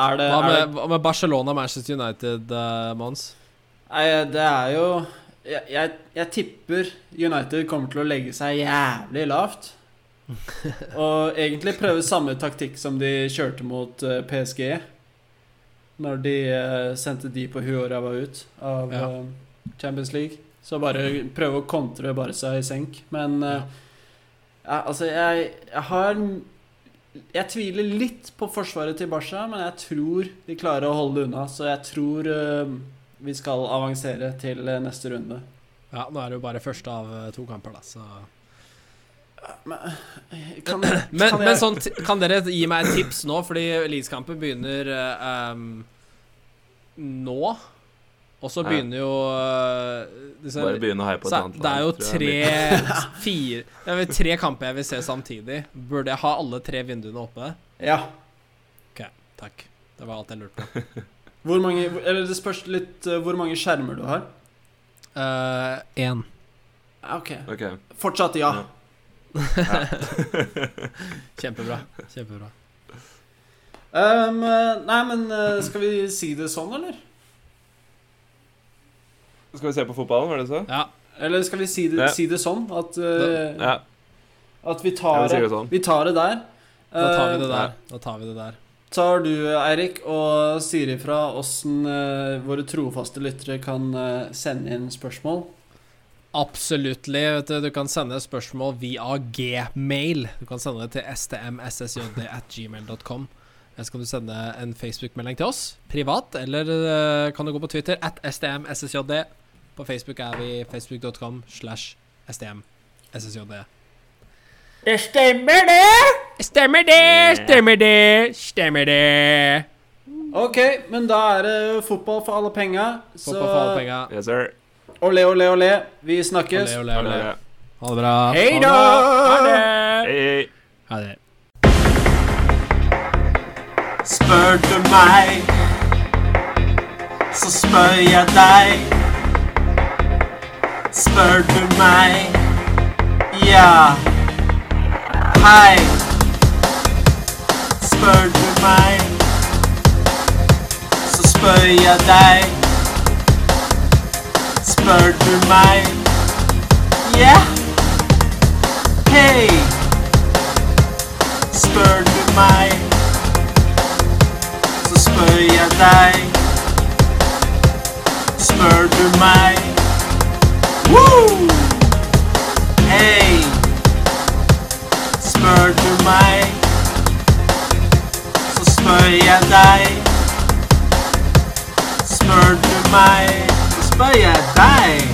Er det,
Hva
er
med,
det,
hva med Barcelona Manchester United, eh, Mons?
nei, det er jo jeg, jeg, jeg tipper United kommer til å legge seg jævlig lavt. Og egentlig prøve samme taktikk som de kjørte mot eh, PSG. Når de eh, sendte de på huet og ræva ut av
Ja.
eh, Champions League. Så bare prøve å kontre Barca i senk. Men eh, ja, altså, jeg, jeg har Jeg tviler litt på forsvaret til Barca, men jeg tror de klarer å holde unna. Så jeg tror eh, vi skal avansere til eh, neste runde.
Ja, nå er det jo bare første av eh, to kamper, da, så
Men, kan,
Men,
kan
men
jeg,
sånn, ti- kan dere gi meg et tips nå, fordi Leeds-kampen begynner eh, em, nå? Og så
Ja.
begynner jo eh, disse-
Bare begynne å heie på et
så,
annet
Det er jo
lag, tror jeg.
tre [laughs] fire, det er vel tre kamper jeg vil se samtidig. Burde jeg ha alle tre vinduene oppe?
ja.
Takk. Det var alt jeg lurte på.
Hvor mange, eller det spørs litt eh, hvor mange skjermer du har.
Én.
Ja, Ok.
Ok.
Fortsatt ja.
Ja.
Kjempebra. Kjempebra.
Um, eh, nei, men eh, skal vi si det sånn, eller?
Skal vi se på fotballen, var det så?
Ja.
Eller skal vi si det,
Ja.
si det sånn at, eh,
Ja.
at vi,
Ja,
tar,
vi sier det sånn.
vi tar det der?
Da tar vi
Eh,
det der. Da tar vi det der.
tar du, Eirik, og sier ifra åssen eh, våre trofaste lyttere kan eh, sende inn spørsmål?
Absoluttly. Vet du, du kan sende spørsmål via gmail. Du kan sende det til stmssjd.gmail.com. Eller så kan du sende en Facebook-melding til oss privat, eller eh, kan du gå på Twitter at stmssjd. På Facebook er vi facebook.com slash stmssjd.
Det stemmer, det!
Stemmer det, stemmer det, stemmer det.
Ok, men da er det fotball for alle penga.
Få på faen penga.
Yes, sir. Eh,
Olé, olé, olé. Vi snakkes.
Ole, ole, ole.
Ja.
Ha det bra.
Hei
Ha det
da!
bra. Ha det.
Hei, hei.
Ha det.
Spør du meg, så spør jeg deg. Spør du meg, ja. Hei. Spør du meg, så spør jeg deg. Spør du meg, ja. Hei. Spør du meg så spør jeg deg. Spør du meg? Woo! Hey! Spør du meg, så spør jeg deg. Spør du meg, så spør jeg deg.